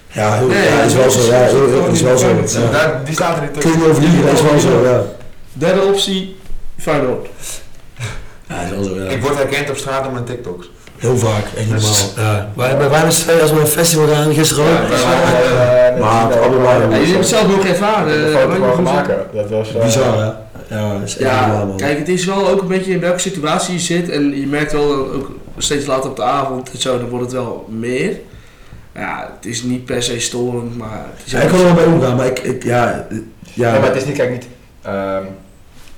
C: Ja, heel,
D: Nee,
C: ja, is wel zo. Ja, heel, heel- is wel zo.
E: Dus
C: Ja.
E: daar- die staat er niet
C: Kun
E: tussen.
C: je niet over liegen, is wel zo. Ja,
D: Derde optie, Feyenoord.
C: ja is wel zo. Ja.
E: Ik word herkend op straat door mijn TikToks.
C: Heel vaak, echt niet normaal. Ja. Wij, wij waren twee als we een festival gaan gisteren
B: <laughs>
C: ook.
E: Ja,
C: Ja,
B: Eh,
C: Maar het allemaal-
D: Ja, jullie hebben het zelf nog ervaren.
B: De
D: eh,
B: foto
D: wat je
B: mogen
D: goed zegt.
B: maken. Dat was... eh,
C: Bizar, hè? Ja, dat is echt niet normaal,
D: Ja,
C: man.
D: kijk, het is wel ook een beetje in welke situatie je zit. En je merkt wel dat ook steeds later op de avond en zo, dan wordt het wel meer. Nou Ja, het is niet per se storend, maar het is
C: Ja, ik kan er wel mee omgaan, maar ik, ik ja, eh, ja.
B: Nee, maar het is niet, kijk, niet, ehm,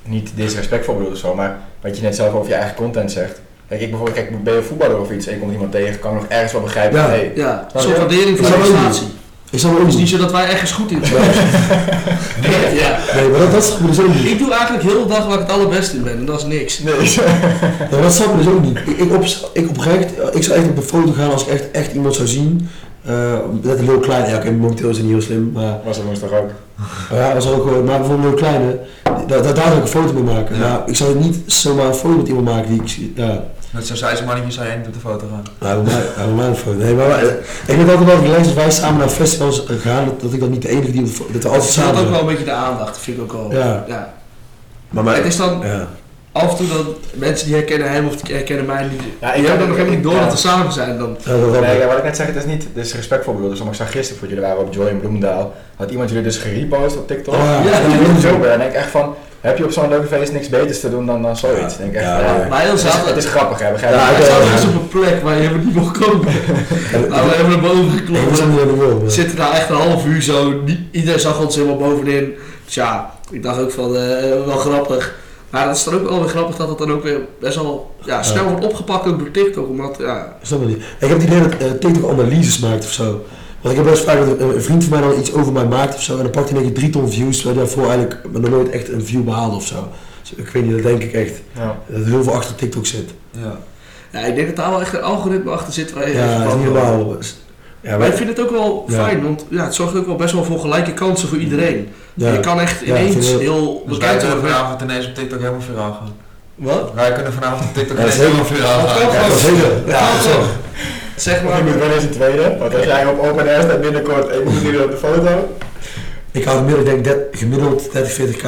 B: niet disrespectvol bedoeld of zo, maar wat je net zelf over je eigen content zegt. Kijk, ik bijvoorbeeld, kijk, ben je voetballer of iets en je komt iemand tegen, kan ik nog ergens wel begrijpen.
C: Ja.
B: van, Hey, <laughs>
D: Ja,
B: Snap
D: een soort
B: je?
D: waardering voor
C: Ik
D: de
C: zou ook
D: prestatie.
C: ik zal wel
D: Het is
C: omgaan.
D: niet zo dat wij ergens goed in
C: Nee,
D: zijn. Ja.
C: Nee, maar dat, dat snap ik dus ook
D: <laughs>
C: niet.
D: Ik doe eigenlijk heel de dag waar ik het allerbeste in ben en dat is niks.
C: Ja, maar dat snap ik dus ook niet. Ik, ik, op, ik oprecht, eh, ik zou echt op een foto gaan als ik echt, echt iemand zou zien. eh net een heel klein, ja oké, momenteel is het niet heel slim, maar
B: was dat woensdag ook.
C: maar ja, dat is ook wel, maar bijvoorbeeld een heel kleine, daar, daar, daar zou ik een foto mee maken.
E: Ja.
C: Maar ik zou niet zomaar een foto met iemand maken die ik zie, ja,
E: Met zo'n size mannetje wie zou je heen op de foto gaan.
C: nou, bij mij- ja, bij mij een foto. Nee, maar, maar, eh, ik heb altijd wel gelezen dat wij samen naar festivals eh, gaan, dat, dat ik dan niet de enige die, op de fo- dat we
D: Dat
C: altijd samen
D: staat ook
C: zijn.
D: wel een beetje de aandacht, dat vind ik ook wel.
C: Ja. Maar, maar,
D: Het is dan
C: ja.
D: af en toe dat mensen die herkennen hem of die herkennen mij niet.
B: Ja,
D: Ja,
B: ik
D: ik heb
B: ook-
D: nog helemaal niet door
B: ja.
D: dat we samen zijn dan.
C: Ja, dat wel.
B: Nee, ja, wat ik net zeg, het is niet disrespectvol bedoeld. Dus, maar ik zag gisteren, voor jullie waren op Joy in Bloemendaal, had iemand jullie dus gerepost op TikTok.
C: Oh, ja.
B: En
D: Ja,
B: toen
C: ja,
B: liep
C: ja.
B: ik zo bij en denk ik echt van, heb je op zo'n leuke feest niks beters te doen dan, dan zoiets?
C: Ja.
B: Denk ik echt,
C: Ja,
B: ja,
C: ja.
D: Maar heel
B: Het, is,
D: zaterdag.
B: het is grappig, hè? Begrijp
C: Ja,
B: je?
C: ik
D: Hij
C: Ja,
D: staat
C: ja.
D: dus op een plek waar je helemaal niet mag
C: <laughs>
D: komen. Nou, we hebben naar boven
C: Nee,
D: geklopt.
C: dat is niet wat ik wil,
D: We
C: maar-
D: zitten daar echt een half uur zo. nie- Iedereen zag ons helemaal bovenin. Dus ja, ik dacht ook van eh, wel grappig. Maar dat is dan ook wel weer grappig dat het dan ook weer best wel ja, snel wordt opgepakt ook door TikTok. Omdat, ja,
C: Ik snap het niet. Ik heb het idee dat eh, TikTok analyses maakt of zo. Want ik heb best vaak dat een, een vriend van mij dan iets over mij maakt of zo. En dan pakt hij in één keer drie ton views, terwijl hij daarvoor eigenlijk nog nooit echt een view behaalde of zo. Dus ik weet niet, dat denk ik echt.
B: Ja.
C: Dat er heel veel achter TikTok zit.
E: Ja.
D: ja, ik denk dat daar wel echt een algoritme achter zit. Waar je
C: Ja, dat is niet normaal. Ja,
D: Maar ik
C: wij-
D: vind het ook wel
C: Ja.
D: fijn, want ja, het zorgt ook wel best wel voor gelijke kansen voor iedereen.
C: ja.
D: Je kan echt
C: Ja, ik
D: ineens
C: vind het-
D: heel
E: Dus wij
D: bekend
E: kunnen
D: worden.
E: vanavond ineens op TikTok helemaal viraal gaan.
D: Wat?
E: Wij kunnen vanavond op TikTok
C: Ja, dat
E: ineens
C: is
E: helemaal viraal gaan.
C: Ja, dat zeker.
D: Ja,
C: Ja,
D: zo. Zeg
B: Ik
D: maar.
B: moet wel eens een tweede, want als jij op open air staat binnenkort en je moet jullie op de foto.
C: Ik had gemiddeld, denk ik, dat- gemiddeld 30, 40k.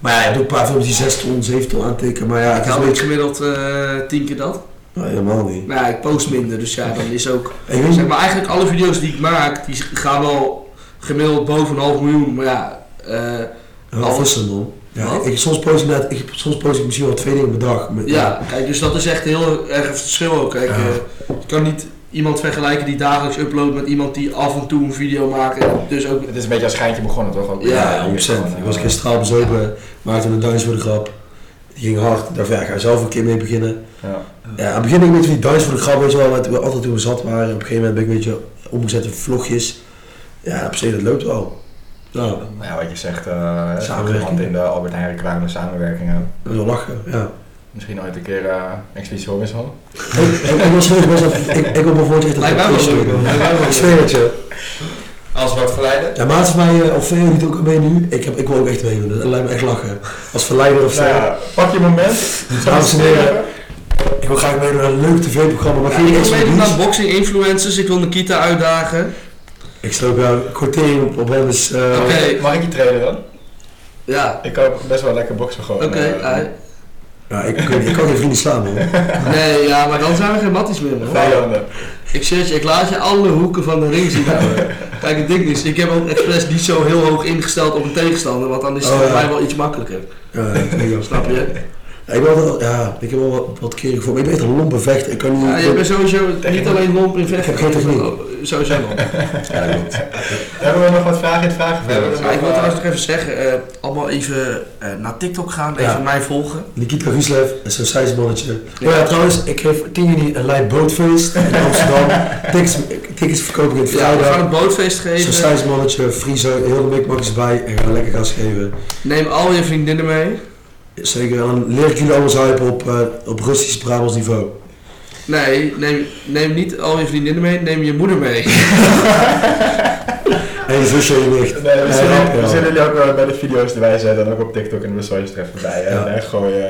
C: Maar ja, je hebt ook een paar films die 6 ton, 7 ton aantikken. Maar ja,
D: Ik
C: het is een
D: hou ook
C: beetje...
D: gemiddeld eh, tien keer dat.
C: Nee, helemaal niet.
D: Nou ja, ik post minder, dus ja, dan is ook...
C: Ik weet
D: Zeg
C: niet.
D: maar, eigenlijk alle video's die ik maak, die gaan wel gemiddeld boven een half miljoen, maar ja... eh,
C: Wat is er, man? Ja,
D: Wat?
C: ik, soms post ik, net- ik, soms post ik misschien wel twee dingen per dag. Maar-
D: ja, kijk, dus dat is echt heel erg een verschil ook. Kijk,
C: Ja.
D: eh, je kan niet iemand vergelijken die dagelijks uploadt met iemand die af en toe een video maakt en dus ook...
B: Het is een beetje als schijntje begonnen, toch? Ook,
D: Ja,
C: Ja, 100%.
B: hier is gewoon,
C: Ik was
B: eh,
C: gisteren al bezopen, maakte een dansje voor de grap. Die ging hard. Ik dacht, ja, ik ga zelf een keer mee beginnen.
B: Ja.
C: Ja, aan het begin een beetje die dans voor de grap, weet je wel, wat we altijd toen we zat waren. Op een gegeven moment ben ik een beetje omgezet in vlogjes. Ja, op zich, dat loopt wel. Nou, dat
B: Nou ja, wat je zegt, eh
C: Samenwerking.
B: hand in de Albert Heijn reclame samenwerkingen.
C: is wel lachen, ja.
B: Misschien ooit een keer eh Expeditie Robinson.
C: ik, ik, ik was serieus best wel- ik, ik wil bijvoorbeeld echt dat
D: Lijkt mij wel
C: ik-
D: leuk, hoor. Lijkt mij wel
C: Ik zweer het je.
E: als wat verleiden.
C: Ja, maar het is mij, eh, of Theo doet ook mee nu. Ik, heb, ik wil ook echt meedoen. Dat lijkt me echt lachen. Als verleider of zo.
B: Nou ja, pak je <laughs> moment.
C: Dames en heren, ik wil graag meedoen aan een leuk tv-programma. Maar
D: Ja,
C: geen
D: ik wil
C: extra
D: meedoen
C: dienst.
D: aan boxing influencers, ik wil Nikita uitdagen.
C: Ik sloop jou een kwartier op, op hem. Dus, eh,
D: Oké.
B: Mag ik je trainen dan?
D: Ja,
B: Ik kan best wel lekker boksen gewoon.
D: oké.
B: eh,
D: ai.
C: nou, ik, ik, kan geen vrienden slaan,
D: <laughs>
C: man.
D: Nee, ja, maar dan zijn we geen matties meer, man.
B: Vijanden.
D: Ik zeg je, ik laat je alle hoeken van de <laughs> ring zien. ouwe. Kijk, het ding is, ik heb ook expres niet zo heel hoog ingesteld op een tegenstander, want dan is het
C: Oh,
D: voor
C: ja.
D: mij wel iets makkelijker.
C: Ja, ik weet wel.
D: Snap je?
C: Ja, ik, ben altijd, ja, ik heb wel wat, wat keren voor. Maar ik ben echt een lompe vechter. Ik kan niet...
D: Ja, je bent sowieso niet
B: Tegen-
D: alleen lomp in vechten.
C: Ik heb geen
D: je bent ook- Sowieso lomp.
C: Ja, klopt.
B: Hebben we nog wat vragen in het vragenvuur?
E: We
D: Ja, ik wil trouwens nog even zeggen, eh, allemaal even eh, naar TikTok gaan,
C: Ja.
D: even mij volgen.
C: Nikita Guslev is zo'n seismannetje. Oh
D: Ja.
C: Ja. ja, trouwens, ik geef 10 juni een live bootfeest in Amsterdam.
D: <laughs>
C: Tickets, tickets verkoop ik in het
D: Ja, we gaan
C: vrijdag.
D: een bootfeest
C: Zo'n
D: geven.
C: seismannetje, vriezer, heel de mikmak is bij en gaan lekker gas geven.
D: Neem al je vriendinnen mee.
C: Zeker, en eh, dan leer ik jullie alles uit op, eh, op Russisch Brabants niveau.
D: Nee, neem, neem niet al je vriendinnen mee, neem je moeder mee. <laughs>
C: En je zusje en je nicht.
B: Nee, we,
C: Ja,
B: zullen,
C: ja.
B: we zullen jullie ook wel bij de video's erbij zetten en ook op TikTok en de stories er even bij.
C: Ja.
B: En echt gooien.
C: Ja.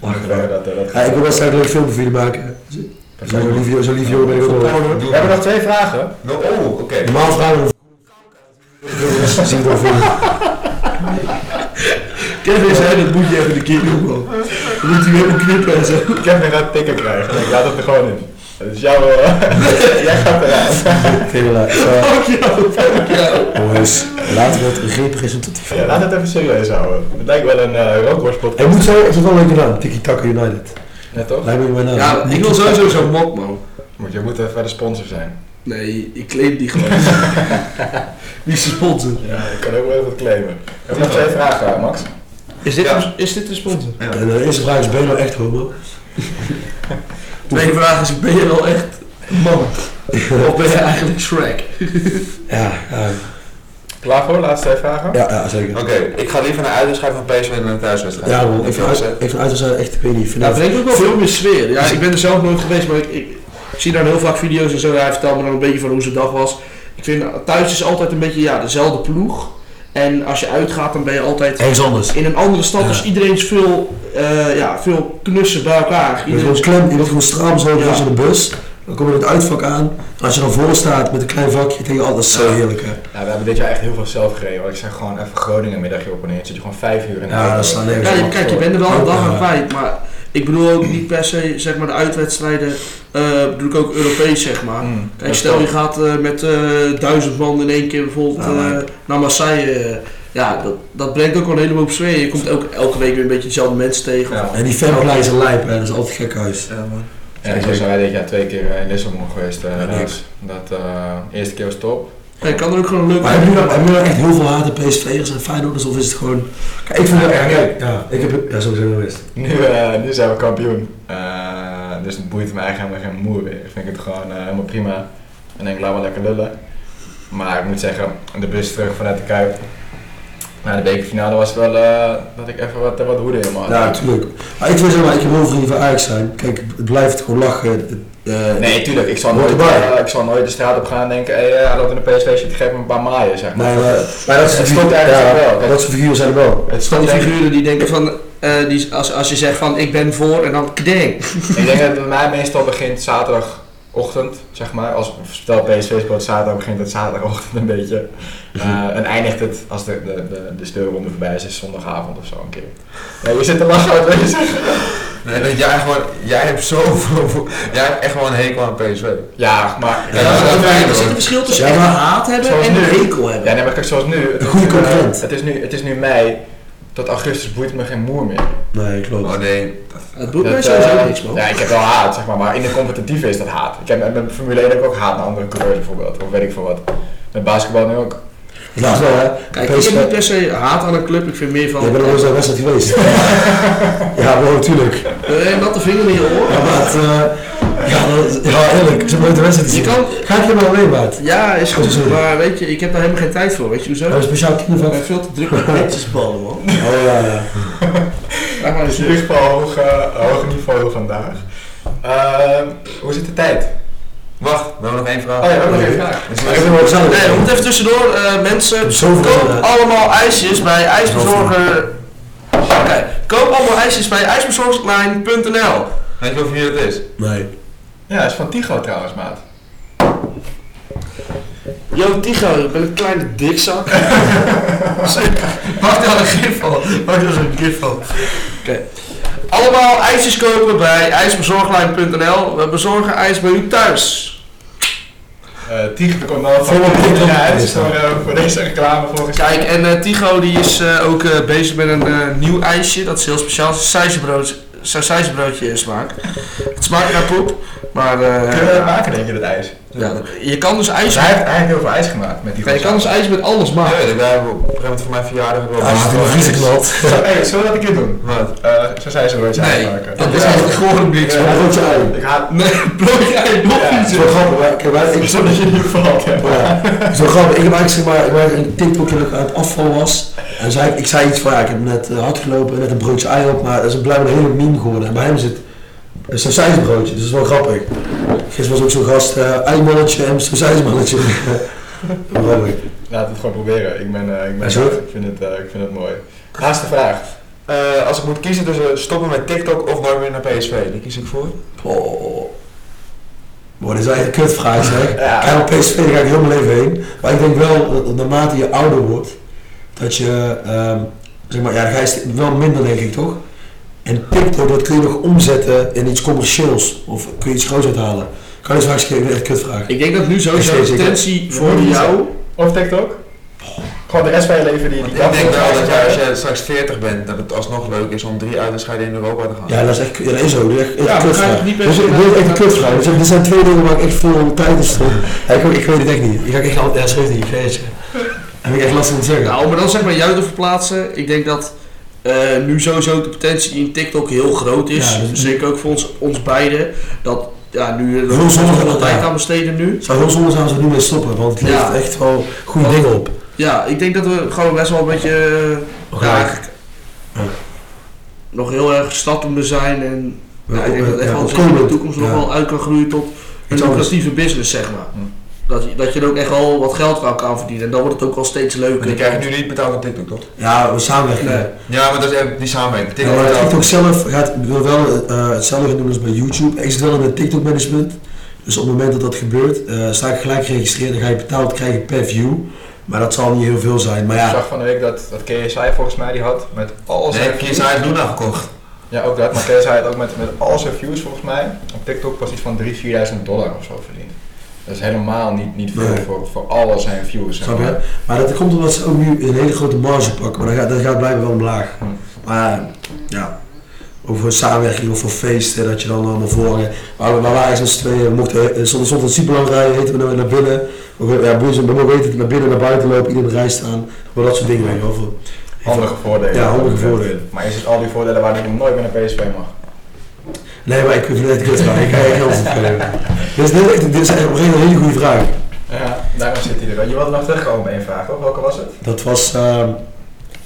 B: eh, dat, eh, dat
C: Ja, ik wil wel straks een leuk filmpje voor jullie maken. Zo'n lief jongen, zo'n lief jongen ben ik ook wel.
B: We hebben nog twee vragen.
E: Oh, oké.
C: Normaal vragen we een zien we wel voor.
D: Kevin zei, dat moet je even de keer doen, man. Dan moet je helemaal knippen en zo.
B: Kevin gaat tikken krijgen. Ik laat het er gewoon in. Dat is jouw... eh, <laughs> Jij gaat eruit.
C: Tela, eh,
D: Fuck jou, fuck jou.
C: Jongens, laten we het representatief
B: Ja, laat het even serieus houden. Het lijkt wel een eh
C: Ik
B: rookworstpodcast.
C: moet zeggen, ik vind het wel leuk gedaan. Tiki Taka United.
B: Ja, toch?
C: Lijkt me mijn naam.
D: Ja, ik wil sowieso zo'n mok, man.
B: Moet, je moet even bij de sponsor zijn.
D: Nee, ik claim die gewoon. <laughs> Wie is de sponsor?
B: Ja, ik kan ook wel even wat claimen. We hebben nog twee vragen, Max.
D: Is dit,
E: Ja.
D: is dit de sponsor?
C: En eh, de eerste vraag is, ben je nou echt homo?
D: Tweede vraag is, ben je wel echt man? of ben je eigenlijk Shrek?
C: Ja, ja,
B: Klaar voor? Laatste twee vragen?
C: ja, ja zeker.
E: Oké, ik ga liever naar uitwedstrijd van PSV dan naar thuiswedstrijd.
C: Ja man, ik vind
E: Oké,
C: uit- ik vind uitwedstrijden echt, ik weet niet, ik vind
D: Ja, dat
C: dat...
D: brengt ook wel veel meer sfeer. Ja, ik ben er zelf nooit geweest, maar ik, ik zie dan heel vaak video's en zo. Ja, Hij vertelt me dan een beetje van hoe zijn dag was. Ik vind eh, thuis is altijd een beetje ja, dezelfde ploeg. En als je uitgaat, dan ben je altijd
C: Ergens anders.
D: in een andere stad.
C: Ja.
D: Dus iedereen is veel, eh, ja, veel knusser bij elkaar.
C: Je wordt
D: Iedereen
C: gewoon
D: is-
C: klem, je wordt gewoon straal
D: Ja.
C: als je in de bus. Dan kom je in het uitvak aan. En als je dan voor staat met een klein vakje, denk je, oh dat is zo heerlijk hè.
B: Nou, we hebben dit jaar echt heel veel zelf gereden. Want ik zeg gewoon even Groningen middagje op en neer. Dan Zit je gewoon vijf uur in de
C: Ja,
B: auto.
C: dat slaat nergens
D: Ja,
C: op.
D: je- kijk, je bent er wel een dag aan
C: Ja.
D: kwijt. Maar ik bedoel ook niet per se zeg maar, de uitwedstrijden, eh bedoel ik ook Europees zeg maar.
B: Mm,
D: Kijk, stel je gaat eh, met eh, duizend man in één keer bijvoorbeeld
C: Ja, maar-
D: eh, naar Marseille. eh, ja, dat, dat brengt ook wel een heleboel op sfeer. Je komt ook elke week weer een beetje dezelfde mensen tegen.
B: Ja,
C: En die fanplein zijn lijp hè, dat is altijd gek huis.
E: Ja, man.
B: Ja, zo zijn wij dit jaar twee keer eh, in Lissabon geweest. eh,
C: Ja,
B: dat
C: leuk.
B: is- dat, eh, eerste keer was top. <laughs>
D: Je kan er ook gewoon leuk
C: Maar hebben jullie nou- hebben jullie nou echt heel veel haat en PSV'ers en Feyenoorders of is het gewoon... Kijk, ik vind
B: Ja,
C: dat...
B: ja, kijk.
C: Ja, ik heb... Ja, sowieso wel eens.
B: Nu, eh, nu zijn we kampioen. Eh, dus het boeit me eigenlijk helemaal geen moer weer. Vind ik het gewoon eh, helemaal prima. En denk, laat maar lekker lullen. Maar ik moet zeggen, de bus terug vanuit de Kuip. Na de bekerfinale was wel eh, dat ik even wat, wat hoede helemaal
C: Ja, natuurlijk. Maar ik wil zeggen, maar ik heb heel veel vrienden van Ajax zijn. Kijk, het blijft gewoon lachen. Het- eh,
B: Nee, tuurlijk. Ik zal,
C: Hoort
B: nooit,
C: erbij.
B: eh, ik zal nooit de straat op gaan en denken, hé, hey, eh, hij loopt in de PSV, shit, geef me een paar maaien, zeg maar.
C: Nee, maar, maar dat soort
B: Het stond
C: figuren-
B: ergens wel.
C: ja, dat soort figuren zijn er wel.
B: het
D: Van
B: stond
D: die
B: denk, ik-
D: figuren die denken van, eh, die, als, als je zegt van ik ben voor en dan kdeng.
B: ik denk dat het bij mij meestal begint zaterdagochtend, zeg maar. Als stel PSV speelt zaterdag, begint het zaterdagochtend een beetje.
C: Mhm.
B: Eh, en eindigt het als de, de, de, de speelronde voorbij is, is zondagavond of zo een keer. Nee, je zit te lachen uit bezig.
E: Nee, dat jij gewoon, jij hebt zoveel, jij hebt echt wel een hekel aan PSV.
B: Ja, maar...
E: Ja, dat is wel
D: er
E: fijn,
D: zit een
E: hoor.
D: verschil tussen
C: Ja,
D: echt
C: maar-
D: haat hebben
B: Zoals
D: en
B: nu.
D: hekel hebben.
B: Ja, nee, maar kijk, zoals nu... Het
C: Een goede
B: is nu, eh,
C: concurrent.
B: Het is nu, het is nu mei. Tot augustus boeit me geen moer meer.
C: Nee, klopt.
E: Oh nee,
D: Het boeit mij
B: Dat,
D: sowieso
B: eh,
D: niks man.
B: Ja, ik heb wel haat, zeg maar, maar in de competitieve is dat haat. Ik heb met mijn Formule 1 heb ik ook haat naar andere coureurs bijvoorbeeld, of weet ik veel wat. Met basketbal nu ook.
C: Ja, wel hè.
D: Kijk, ik
C: PSV,
D: heb niet per se haat aan een club, ik vind meer van...
C: je bent al eens naar wedstrijd <laughs> geweest. ja, wel natuurlijk.
D: Eh, natte vinger in je oor.
C: Ja, maar het, eh, ja, dat, ja, eerlijk, ze nooit de wedstrijd
D: Je
C: zien.
D: kan-
C: Ga ik je maar mee, maat. We
D: Ja, is
C: Oh,
D: goed,
C: sorry.
D: maar weet je, ik heb daar helemaal geen tijd voor, weet je hoezo?
C: hebben een speciaal team
D: Ik
C: van.
D: ben veel te druk met netjesballen, man.
C: Oh ja, ja.
D: Laat maar
B: Dus
D: eens
B: in ieder geval hoog, eh, hoog niveau vandaag. Ehm, hoe zit de tijd?
E: Wacht, we hebben nog één vraag.
B: Oh ja, we hebben nog één vraag.
E: Dus
C: Ik vind het wel gezellig.
D: Nee, we moeten even tussendoor. eh, mensen,
C: Op zoveel
D: koop
C: andere-
D: allemaal ijsjes bij ijsbezorger... Oké, koop allemaal ijsjes bij ijsbezorgerslijn.nl
E: Weet je of hier het is?
C: Nee.
B: Ja, dat is van Tigo trouwens, maat.
D: Yo, Tigo, ik ben een kleine <laughs> dikzak. Maak daar een gif van. Maak daar zo'n gif van. Oké. Allemaal ijsjes kopen bij ijsbezorglijn.nl. We bezorgen ijs bij u thuis.
B: Eh Tigo komt nou van
C: Volle prik op de
B: uit
C: prijs,
B: voor, eh, voor deze reclame volgens mij.
D: Kijk, en eh, Tigo die is eh, ook eh, bezig met een eh, nieuw ijsje. Dat is heel speciaal. Sausijzenbrood, sausijzenbroodje smaak. Het smaakt naar poep. Maar eh,
B: Kunnen we dat maken, denk je, dat ijs?
D: ja, je kan dus ijs...
B: Dus hij heeft eigenlijk heel veel ijs gemaakt met die
D: Ja, je kan dus ijs met alles
E: Ja,
D: maken.
E: weet ik. Wij hebben op een gegeven moment voor mijn verjaardag wel
C: Ja, als je het in de vriezer knalt.
B: Zo, hey, zullen we dat een keer doen?
E: Wat?
B: Eh, zo zei ze nooit
D: Nee,
B: maken.
D: dat is eigenlijk gewoon niks.
C: Ja, dat is je ei.
B: Ik haat... <laughs>
D: Nee, broodje ei, nog
B: Ja.
C: Het
D: iets.
C: is wel grappig, maar ik heb
B: Ik
C: eigenlijk...
B: snap dat je nu verhaald hebt.
C: Ja, het is wel grappig. Ik heb eigenlijk zeg maar, ik maakte een TikTokje dat ik aan het afval was. En zei, ik- ik zei iets van, ja, ik heb net eh, hard gelopen en net een broodje ei op, maar dat is blijkbaar een hele meme geworden. En bij hem zit een sausijsbroodje, dus dat is wel grappig. Gisteren was ook zo'n gast, eh eimannetje en sausijsmannetje. <laughs> Grappig.
B: Laten we het gewoon proberen. Ik ben... eh, ik, ben
C: Is goed.
B: ik, vind het, eh, ik vind het mooi. Laatste vraag.
E: Eh, als ik moet kiezen tussen stoppen met TikTok of nooit meer naar PSV, die kies ik voor.
C: Oh. Boah, dit is eigenlijk een kutvraag
D: <laughs>
C: zeg.
B: Ja.
C: Kijk, op PSV daar ga ik heel mijn leven heen. Maar ik denk wel, dat naarmate je ouder wordt, dat je, ehm, zeg maar, ja, dan ga je st- wel minder denk ik toch? En TikTok, dat kun je nog omzetten in iets commercieels. Of kun je iets groots uithalen. Kan je straks geven, echt kutvraag.
D: Ik denk dat nu sowieso
C: Ik
D: de
C: zie het,
D: intentie voor
B: Ja.
D: jou...
B: Of TikTok? Gewoon de rest van je leven die... die
E: Ik denk wel dat jij, als jij straks 40 bent, dat het alsnog leuk is om drie uitwedstrijden in Europa te gaan.
C: Ja, dat is echt, ja, dat is zo. Dat is echt, echt een
D: Ja, we gaan
C: kutvraag.
D: het niet per
C: Dus
D: se
C: ik wil echt een kutvraag. Dus er zijn twee dingen waar ik echt veel tijd in stond. Ja, ik, ik weet het echt niet. Ik ga echt altijd, ja, schreef niet, feestje. Heb ik echt last van te zeggen.
D: Nou, om er dan zeg maar jou te verplaatsen, ik denk dat eh, nu sowieso de potentie in TikTok heel groot is.
C: Ja, dat is-
D: Zeker ook voor ons, ons beiden. Dat ja, nu er
C: Heel zonde
D: veel
C: dat,
D: tijd
C: ja.
D: aan besteden nu.
C: Het zou heel zonde zijn als we er nu mee stoppen, want het levert
D: Ja.
C: echt wel goede
D: Want-
C: dingen op.
D: Ja, ik denk dat we gewoon best wel een beetje eh, ja,
C: Gelijk.
D: eigenlijk
C: Ja.
D: nog heel erg startende zijn. En ja, ik denk dat echt
C: Ja,
D: wel
C: we
D: dat je in de
C: komen-
D: toekomst nog
C: ja.
D: wel uit kan groeien tot een
C: Iets anders.
D: lucratieve business, zeg maar.
B: Hm.
D: Dat, je- dat je er ook echt wel wat geld aan kan verdienen. En dan wordt het ook wel steeds
E: Maar die
D: leuker.
E: krijg je nu niet betaald op TikTok, toch?
C: Ja, we samenwerken.
D: Nee.
E: Ja, maar dat is even die
C: Ja,
E: samenwerking. TikTok
C: maar
E: betaalt-
C: TikTok zelf gaat, wil wel eh, hetzelfde gaan doen als bij YouTube. Ik zit wel in het TikTok management. Dus op het moment dat dat gebeurt, eh, sta ik gelijk geregistreerd. Dan ga je betaald krijgen per view. Maar dat zal niet heel veel zijn. Maar
B: Ik
C: ja,
B: zag van de week dat, dat KSI volgens mij die had met al zijn
E: Nee, Kies uit Luna gekocht.
B: Ja, ook dat. Maar Kees had ook met, met al zijn views volgens mij op TikTok pas iets van 3.000, 4.000 dollar of zo verdiend. Dat is helemaal niet, niet veel
C: Nee.
B: voor, voor al zijn views. Zeg
C: snap
B: maar.
C: je? Maar dat komt omdat ze ook nu een hele grote marge pakken. Maar dat gaat, dat gaat blijven wel omlaag.
B: Hm.
C: Maar eh, ja, over samenwerking of voor feesten, dat je dan allemaal volgen. Maar we maar we waren eens twee, we mochten eh, soms soms een Cyberland rijden, heten we naar- naar binnen. We, ja, boeien ze, we weten het naar binnen, naar buiten lopen, iedereen rij staan. Maar dat soort dingen, weet je wel. voor-
B: Handige voordelen.
C: Ja, handige voordelen.
B: Maar is het al die voordelen waar je nooit meer naar PSV mag?
C: Nee, maar ik vind het echt kut vraag. Ik ga echt heel veel geven. Dit is, dit, dit is echt op een gegeven moment een hele goede vraag.
B: Ja, daarom zit hij er. wel. Je wilde nog terugkomen bij één vraag, toch? Welke was het?
C: Dat was, ehm,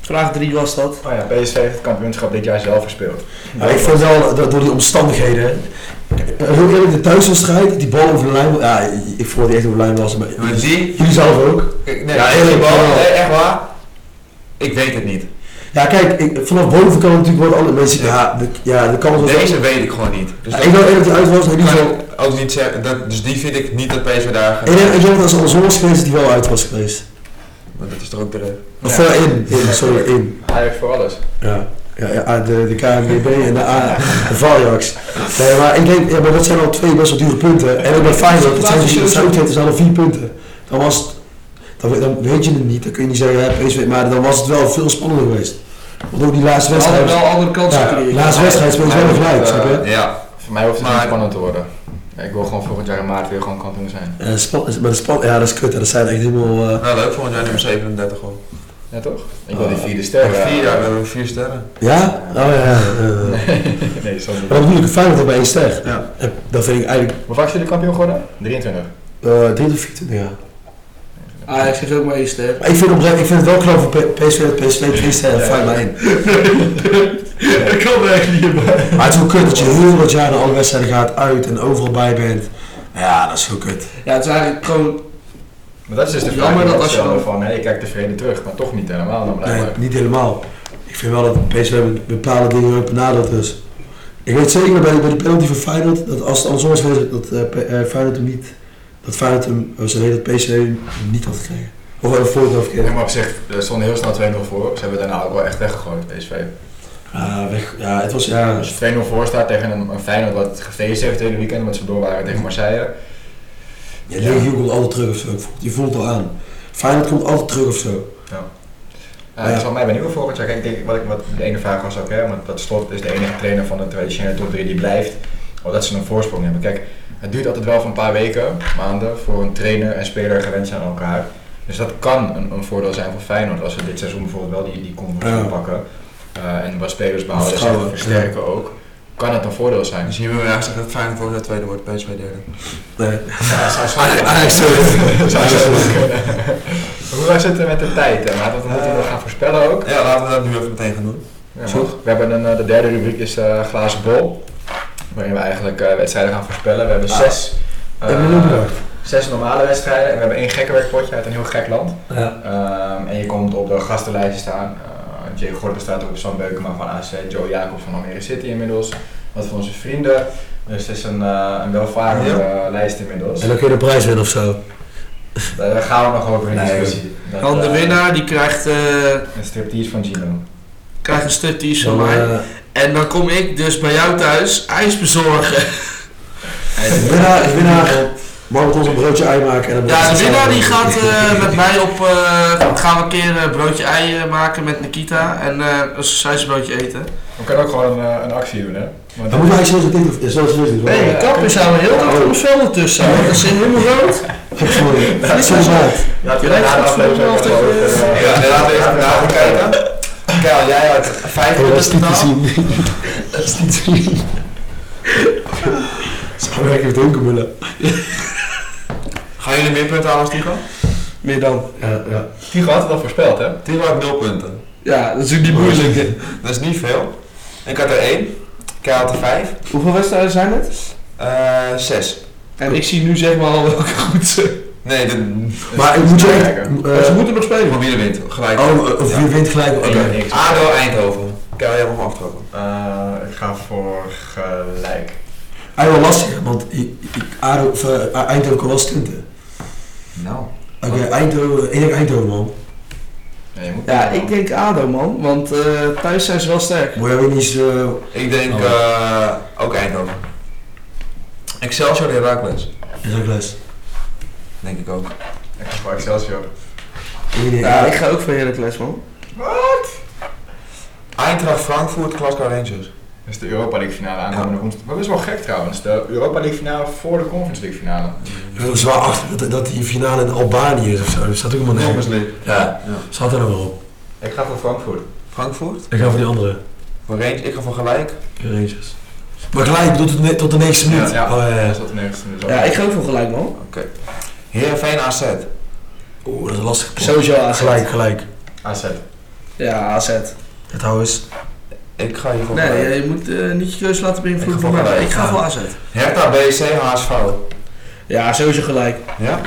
D: Vraag 3 was dat.
B: Oh ja, PSV heeft het kampioenschap dit jaar zelf verspeeld.
C: ja, ik vind wel dat door die omstandigheden. eh, Heel eerlijk, de thuiswedstrijd, die bal over de lijn. Ja, ik vond die echt over de lijn was. Maar
E: Maar die,
C: jullie zelf ook.
E: nee,
C: Ja,
E: die
C: eerlijk
E: bal,
C: wel.
E: nee, echt waar. Ik weet het niet.
C: Ja, kijk, ik, vanaf boven kan natuurlijk worden andere mensen. Ja, de, ja, de kans was.
E: Deze weet ik gewoon niet. Dus
C: Ja,
E: dat
C: ik wil eerlijk dat die uit was, maar in ieder
E: kan
C: geval.
E: ik ook niet zeggen. Dat, dus die vind ik niet dat PSV daar gaat.
C: Ik denk, ik denk dat als er Ozon was geweest, die wel uit was geweest.
E: Maar dat is toch ook terecht.
C: Of
B: Ja.
C: wel in, in, sorry, in.
B: Hij heeft voor alles.
C: Ja. Ja, ja, de, de KNVB en de, A, de Valjax. Nee, maar ik denk, ja, maar dat zijn al twee best wel dure punten. En ook bij Feyenoord, dat zijn, dat zijn, ook twee- dat zijn al vier punten. Dan was het, dan, we- dan weet je het niet, dan kun je niet zeggen, ja, PSV, maar dan was het wel veel spannender geweest. Want ook die laatste
D: We hadden
C: wedstrijd,
D: wel andere kansen
C: ja,
D: gecreëerd.
C: laatste wedstrijd speelt wel gelijk, snap je?
E: Eh, Ja.
B: Voor mij hoeft het niet
E: Maar-
B: spannend te worden. Ik wil gewoon volgend jaar in maart weer gewoon kampioen zijn.
C: En span, maar de span, ja, dat is kut, hè, dat zijn echt helemaal... eh,
E: Nou, leuk volgend jaar nummer 37 hoor.
B: Ja toch? Ik
D: Ah.
B: wil die vierde ster. eh,
E: Ja, vier jaar, we hebben vier sterren.
C: ja? Oh ja, ja.
D: <laughs>
C: eh.
B: <laughs> Nee, sorry.
C: Maar dat bedoel ik, Feyenoord heeft bij één ster.
E: Ja.
C: En Dat vind ik eigenlijk
B: Hoe vaak is jullie kampioen geworden? 23.
C: eh 3 of 24 jaar.
D: Ah, ik geef ook maar één ster.
C: Maar ik vind, oprecht, ik vind het wel knap voor P- PSV dat PSV 2 sterren
B: Ja.
C: en Feyenoord maar
D: <laughs>
C: één.
D: Dat kan echt niet,
C: Maar het is wel kut dat je heel wat jaar naar alle wedstrijden gaat uit en overal bij bent. Ja, dat is heel kut.
D: Ja, het is eigenlijk gewoon...
B: Maar dat is dus de vraag
D: Jammer
B: die
D: dat
B: ik
D: als je
B: stelde
D: dan-
B: van, hé, je kijkt tevreden terug, maar toch niet helemaal dan
C: Nee,
B: blijkbaar.
C: niet helemaal. Ik vind wel dat PSV met bepaalde dingen ook benaderd is. Ik weet zeker bij, bij de penalty van Feyenoord dat als het andersom was geweest, dat eh, P- eh, Feyenoord hem niet, dat Feyenoord hem, eh, sorry, dat PSV hem niet had gekregen. Of wel voor had
B: Ik
C: gekregen.
B: maar op zich, er stonden heel snel 2-0 voor. Ze hebben daarna ook wel echt weggegooid, PSV.
C: Ja, Ah, weg, ja, het was, ja,
B: Als je 2-0 voor staat tegen een, een Feyenoord wat het gefeest heeft het hele weekend, omdat ze door waren tegen Marseille. eh,
C: ja, Legio komt altijd terug of zo. Ik voel- Je voelt het al aan. Feyenoord komt altijd terug of zo.
B: Ja, ik zal mij benieuwen volgend jaar. Kijk, ik denk, wat, ik, wat de ene vraag was ook, hè, want dat slot is de enige trainer van de traditionele top 3 die blijft. Omdat ze een voorsprong hebben. Kijk, het duurt altijd wel van een paar weken, maanden, voor een trainer en speler gewend zijn aan elkaar. Dus dat kan een, een voordeel zijn voor Feyenoord als ze dit seizoen bijvoorbeeld wel die, die conferentie
C: Ja.
B: pakken. eh, en wat spelers behouden en
C: Vertrouwen,
B: versterken ook. Kan het een voordeel zijn?
E: Dus hier wil je eigenlijk zeggen dat Feyenoord volgend jaar tweede wordt, PSV derde.
C: Nee.
B: Ja, zou zo
C: Eigenlijk Ah, zo.
B: Zou <laughs> zo kunnen. Hoe was het eh, met de tijd? hè? Laten we het nog gaan voorspellen ook.
E: Ja, laten we dat nu even meteen gaan doen.
B: Ja,
C: Zo.
B: maar We hebben een, eh, de derde rubriek is eh, glazen bol. Waarin we eigenlijk eh, wedstrijden gaan voorspellen. We hebben
C: Ah.
B: zes, eh,
C: Hebben jullie bedacht?
B: zes normale wedstrijden. En we hebben één gekkenwerkpotje uit een heel gek land.
C: Ja.
B: Ehm, en je komt op de gastenlijstje staan. Eh Jay Gordon staat ook op Sam Beukema van AC. Joe Jacob van Almere City inmiddels. Wat van onze vrienden. Dus het is een, eh, een welvarende eh, lijst inmiddels.
C: En dan kun je de prijs winnen of zo.
B: Daar gaan we nog over in
C: Nee,
B: discussie. Dat,
D: Dan de
B: eh,
D: winnaar, die krijgt, eh,
B: Een striptease van Gino.
D: krijgt een striptease van
C: Dan,
D: mij.
C: eh,
D: En dan kom ik dus bij jou thuis ijs bezorgen.
C: de winnaar, de winnaar mag met ons een broodje ei maken. En dan
D: Ja, de
C: moet je
D: winnaar die
C: samen-
D: gaat eh, met mij op... eh, gaan we een keer eh, broodje ei eh, maken met Nikita. En eh, een sausijsbroodje eten.
B: We kunnen ook gewoon een, eh, een actie doen, hè? Want
C: Dan moet je eigenlijk zoals het ding, zoals het is.
D: Nee, de kappen zouden heel
C: Oh.
D: erg om velden tussen houden. Dat is helemaal rood.
C: Sorry,
D: Dat is
C: sorry,
D: zo.
C: maat.
B: Ja,
D: Je lijkt het voetbal
B: ook
D: tegen-
B: over, eh,
E: Ja,
B: ja,
E: laten we even naar
B: gaan kijken. Kijk, jij had vijf
C: Oh,
B: minuten
C: dat is niet te
B: betaald.
C: zien. <laughs> Dat is niet te zien. Zou ik even dronken willen?
E: Gaan jullie meer punten halen als Tigo?
D: Meer dan.
C: Ja, ja.
B: Tigo had het al voorspeld, hè?
E: Tigo had 0 punten.
D: Ja, dat is ook niet moeilijk.
E: Dat is niet veel. Ik had er 1. K had er 5.
D: Hoeveel wedstrijden zijn het?
E: Eh 6.
D: En ik zie nu zeg maar al welke goed zijn.
E: Nee, de,
C: Maar ik moet je echt...
B: kijken.
C: eh,
D: ze moeten nog spelen.
E: van wie de wint. Gelijk.
C: Oh, of je wint gelijk. Oké.
B: Ik heb niks.
E: ADO Eindhoven. K, jij mag hem aftrappen.
B: Eh, ik ga voor gelijk.
C: Hij was Ah, lastig, want ik, ik, Ado, of, eh, Eindhoven kan wel stunten.
B: Nou.
C: Oké, Eindhoven, ik denk Eindhoven man.
B: Ja, je moet
D: Ja, ik denk ADO man, want eh, thuis zijn ze wel sterk.
C: Moet jij weer niet eens... eh,
E: Ik denk
C: Oh.
E: eh, ook Eindhoven. Excelsior Herakles.
C: is ook les.
E: Denk ik ook.
B: Ik ga voor Excelsior.
C: Ik denk,
D: Ja,
C: ja,
D: ik ga ook voor Heracles man.
E: Eintracht Frankfurt, Glasgow Rangers.
B: Dat is de Europa League finale aankomende woensdag. Maar dat is wel gek trouwens. De Europa League finale voor de Conference League finale.
C: ik wil er zwaar achter dat, dat die finale in Albanië is of zo. Dat staat ook helemaal nergens.
E: League.
C: Ja, staat er nou wel op.
B: Ik ga voor Frankfurt.
E: Frankfurt.
C: Ik ga voor die andere.
E: Voor Rangers. Ik ga voor gelijk.
C: Rangers. Maar gelijk tot, de ne- tot de negende minuut.
B: Ja,
C: Oh, ja,
B: Dat
C: ja.
B: is wat nergens in de dus
D: Ja, ik ga ook voor gelijk man.
E: Heerenveen AZ.
C: Oeh, dat is lastig.
D: Sowieso AZ.
C: Gelijk, gelijk.
B: AZ.
D: Ja, AZ.
C: Het hou eens.
E: Ik ga hier voor
D: Nee,
E: gelijk.
D: je moet eh, niet je keuze laten
E: Ik
D: beïnvloeden
E: ga
D: door
E: voor
D: mij.
E: gelijk,
D: Ik ga
E: ja.
D: voor AZ.
E: Hertha BC HSV.
D: Ja, sowieso gelijk.
E: Ja?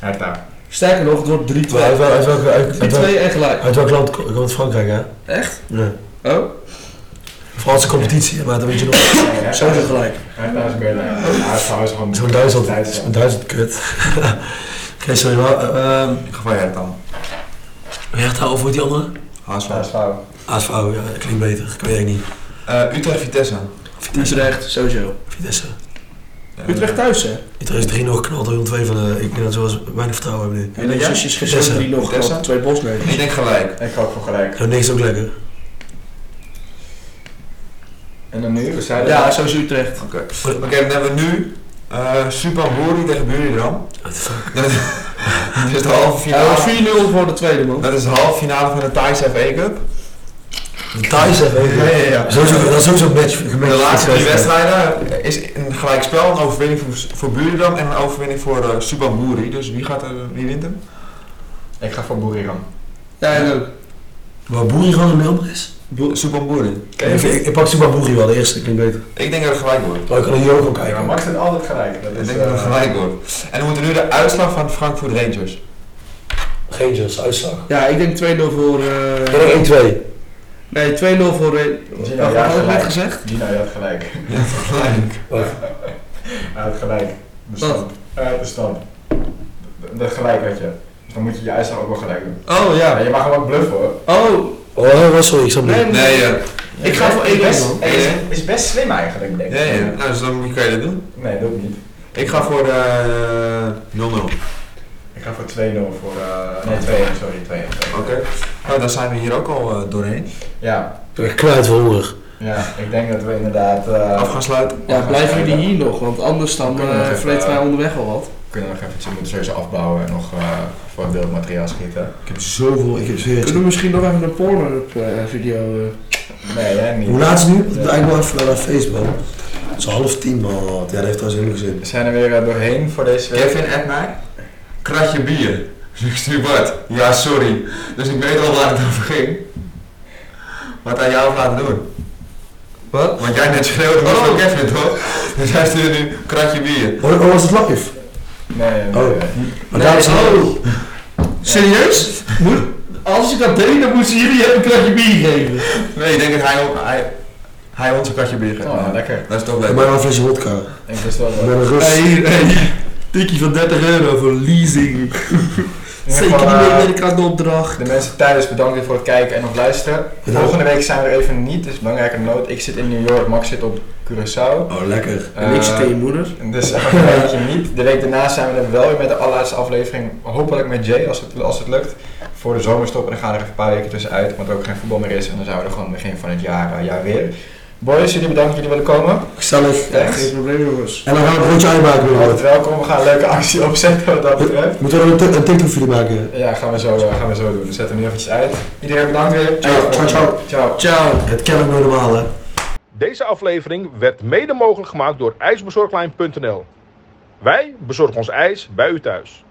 B: Hertha.
D: Sterker nog, het wordt 3-2. 3-2
C: Maar Uit, wel- uit, welke- uit, uit, welk-
D: en gelijk.
C: uit welk land ko- komt Frankrijk, hè?
D: Echt?
C: Ja.
D: Oh,
C: Franse competitie, maar dat weet je <coughs> nog.
D: sowieso gelijk.
B: Hertha is Berlijn. HSV is gewoon...
C: Zo'n Duitsland, zo'n Duitsland kut. <laughs> Oké, sorry, maar... eh, ehm,
E: Ik ga voor Hertha.
C: Hertha of voor die andere?
E: HSV.
B: HSV.
C: ASV, ja, dat klinkt beter. Ik weet het niet.
E: Eh, Utrecht Vitesse.
C: Vitesse.
D: Utrecht, sowieso.
C: Vitesse.
E: Ja,
D: Utrecht thuis hè?
C: Utrecht is 3 nog knalt er 1-2 van de... Ik denk dat ze wel eens weinig vertrouwen hebben nu.
D: En de
E: jij?
D: zusjes
C: Vitesse.
D: gezien die nog
E: Vitesse?
D: gehad, twee bosneuzen.
E: Ik denk gelijk.
B: Ik ga ook voor gelijk.
C: Nou, niks ook lekker.
B: En dan nu? We zeiden
D: Ja, sowieso Utrecht.
E: Oké, Oké, dan hebben we nu eh Super Boeri tegen
D: <laughs>
E: Buriram.
C: What the fuck?
E: Dat is- dat is de halve
D: Ja, dat
E: finale.
D: wordt 4-0 voor de tweede man.
E: Dat is de halve finale van de Thaise FA Cup.
C: De Thais hebben
E: ja, ja.
C: Sowieso, dat is sowieso een match.
E: De laatste drie wedstrijden is een gelijk spel, een overwinning voor, voor Buriram en een overwinning voor eh Super Boeri. Dus wie, gaat er, wie wint hem?
B: Ik ga voor Boeriram.
D: Ja, en ook.
C: Waar Boeri gewoon een nummer is?
E: Boer- Soepan Boeren.
C: Ik, ik, ik pak Subaboegi wel, de eerste, klinkt beter.
E: Ik denk dat het gelijk wordt.
C: Maar ik kan hier ook op
B: Ja,
C: kijken.
B: maar Max heeft altijd gelijk. Dat
E: Ik
B: is,
E: denk dat het
B: eh,
E: gelijk wordt. En we moeten nu de uitslag van Frankfurt Rangers.
C: Geen Jus, uitslag.
D: Ja, ik denk 2-0 voor...
C: Ik
D: eh,
C: denk 1-2.
D: nee, 2-0 voor... eh,
B: Gino,
D: Wat
B: je had
D: had ik net
B: gelijk.
D: gezegd?
B: Gino, je had gelijk. <laughs>
E: Gelijk.
B: Hij had gelijk. De
D: Wat?
B: stand. Eh, de stand. De, de gelijk had je. Dus dan moet je je uitslag ook wel gelijk doen.
D: Oh,
B: Ja,
D: ja.
B: je mag hem ook bluffen hoor.
D: Oh,
C: Oh, wat sorry, ik snap niet.
D: nee,
E: Nee, eh, ja.
D: Ik ga voor 1-1
B: Is,
D: man.
B: is, is best slim eigenlijk, denk ik.
E: Ja, ja. Nou, dus dan moet- kan je dat doen.
B: Nee, dat niet.
E: Ik ga voor eh 0-0.
B: Ik ga voor 2-0 voor... eh nee, 2-1, sorry. 2-1. 2-1.
E: Oké. Nou, dan zijn we hier ook al eh, doorheen.
B: Ja.
C: Ik ben kwijt van honger.
B: ja, ik denk dat we inderdaad... eh,
E: Af gaan sluiten.
D: Ja, blijven jullie hier nog, want anders dan
B: Kunnen we nog
D: eh
B: even,
D: vreten wij onderweg al wat.
B: kunnen we nog eventjes moeten sowieso afbouwen en nog eh, voor beeldmateriaal schieten.
C: Ik heb zoveel, ik heb
D: Kunnen we misschien nog even een eh, porno-video...
B: Nee, hè, niet.
C: Hoe laat is het nu? Het lijkt wel even naar Facebook. Het is half tien, man. Ja, dat heeft trouwens helemaal geen
B: We
C: zin.
B: zijn er weer eh, doorheen voor deze week.
E: Kevin en mij. Kratje bier. Dus ik stuur Bart. Ja, sorry. Dus ik weet al waar het over ging. Wat aan jou heeft laten doen.
D: Wat?
E: Want jij net schreeuwde
B: Oh.
E: was van Kevin, toch? Dus hij stuurde nu kratje bier.
C: Oh, oh, was het live?
B: Nee, nee, nee.
C: Oh.
B: nee.
C: Maar daar is
D: oh. Serieus? Moet, als ik dat deed, dan moesten jullie hem een kratje bier geven.
E: Nee, ik denk dat hij, hij, hij ons een kratje bier geeft.
B: Oh, lekker.
E: Dat is toch
C: Voor
E: leuk.
C: mij wel een flesje vodka.
B: Ik wist wel
C: Met een rust.
D: hier, hey. Tikkie van 30 euro voor leasing. Zeker niet meer met de krantenopdracht.
B: eh, De mensen thuis bedankt weer voor het kijken en of luisteren.
C: Bedankt.
B: Volgende week zijn we er even niet, dus belangrijke noot. Ik zit in New York, Max zit op Curaçao.
C: Oh, lekker.
D: En ik zit
B: Eh,
D: tegen je moeder.
B: Dus <laughs> een beetje niet. De week daarna zijn we er wel weer met de allerlaatste aflevering. Hopelijk met Jay als het, als het lukt. Voor de zomerstop. En dan gaan er even een paar weken tussenuit. Omdat er ook geen voetbal meer is. En dan zouden we gewoon begin van het jaar, eh, jaar weer. Boys, jullie bedankt dat jullie willen komen.
C: Gezellig.
B: Echt.
D: Geen probleem jongens.
C: En dan gaan we een broodje uitmaken weer
B: Altijd welkom. We gaan een leuke actie opzetten wat dat betreft.
C: Moeten we dan een tik- een TikTok video maken?
B: Ja, gaan we zo, eh, gaan we zo doen. We zetten hem nu eventjes uit. Iedereen bedankt weer.
C: Hey, ciao, ciao.
B: Ciao.
D: Ciao.
C: Het kan ook nooit normaal, hè?
A: Deze aflevering werd mede mogelijk gemaakt door ijsbezorglijn.nl. Wij bezorgen ons ijs bij u thuis.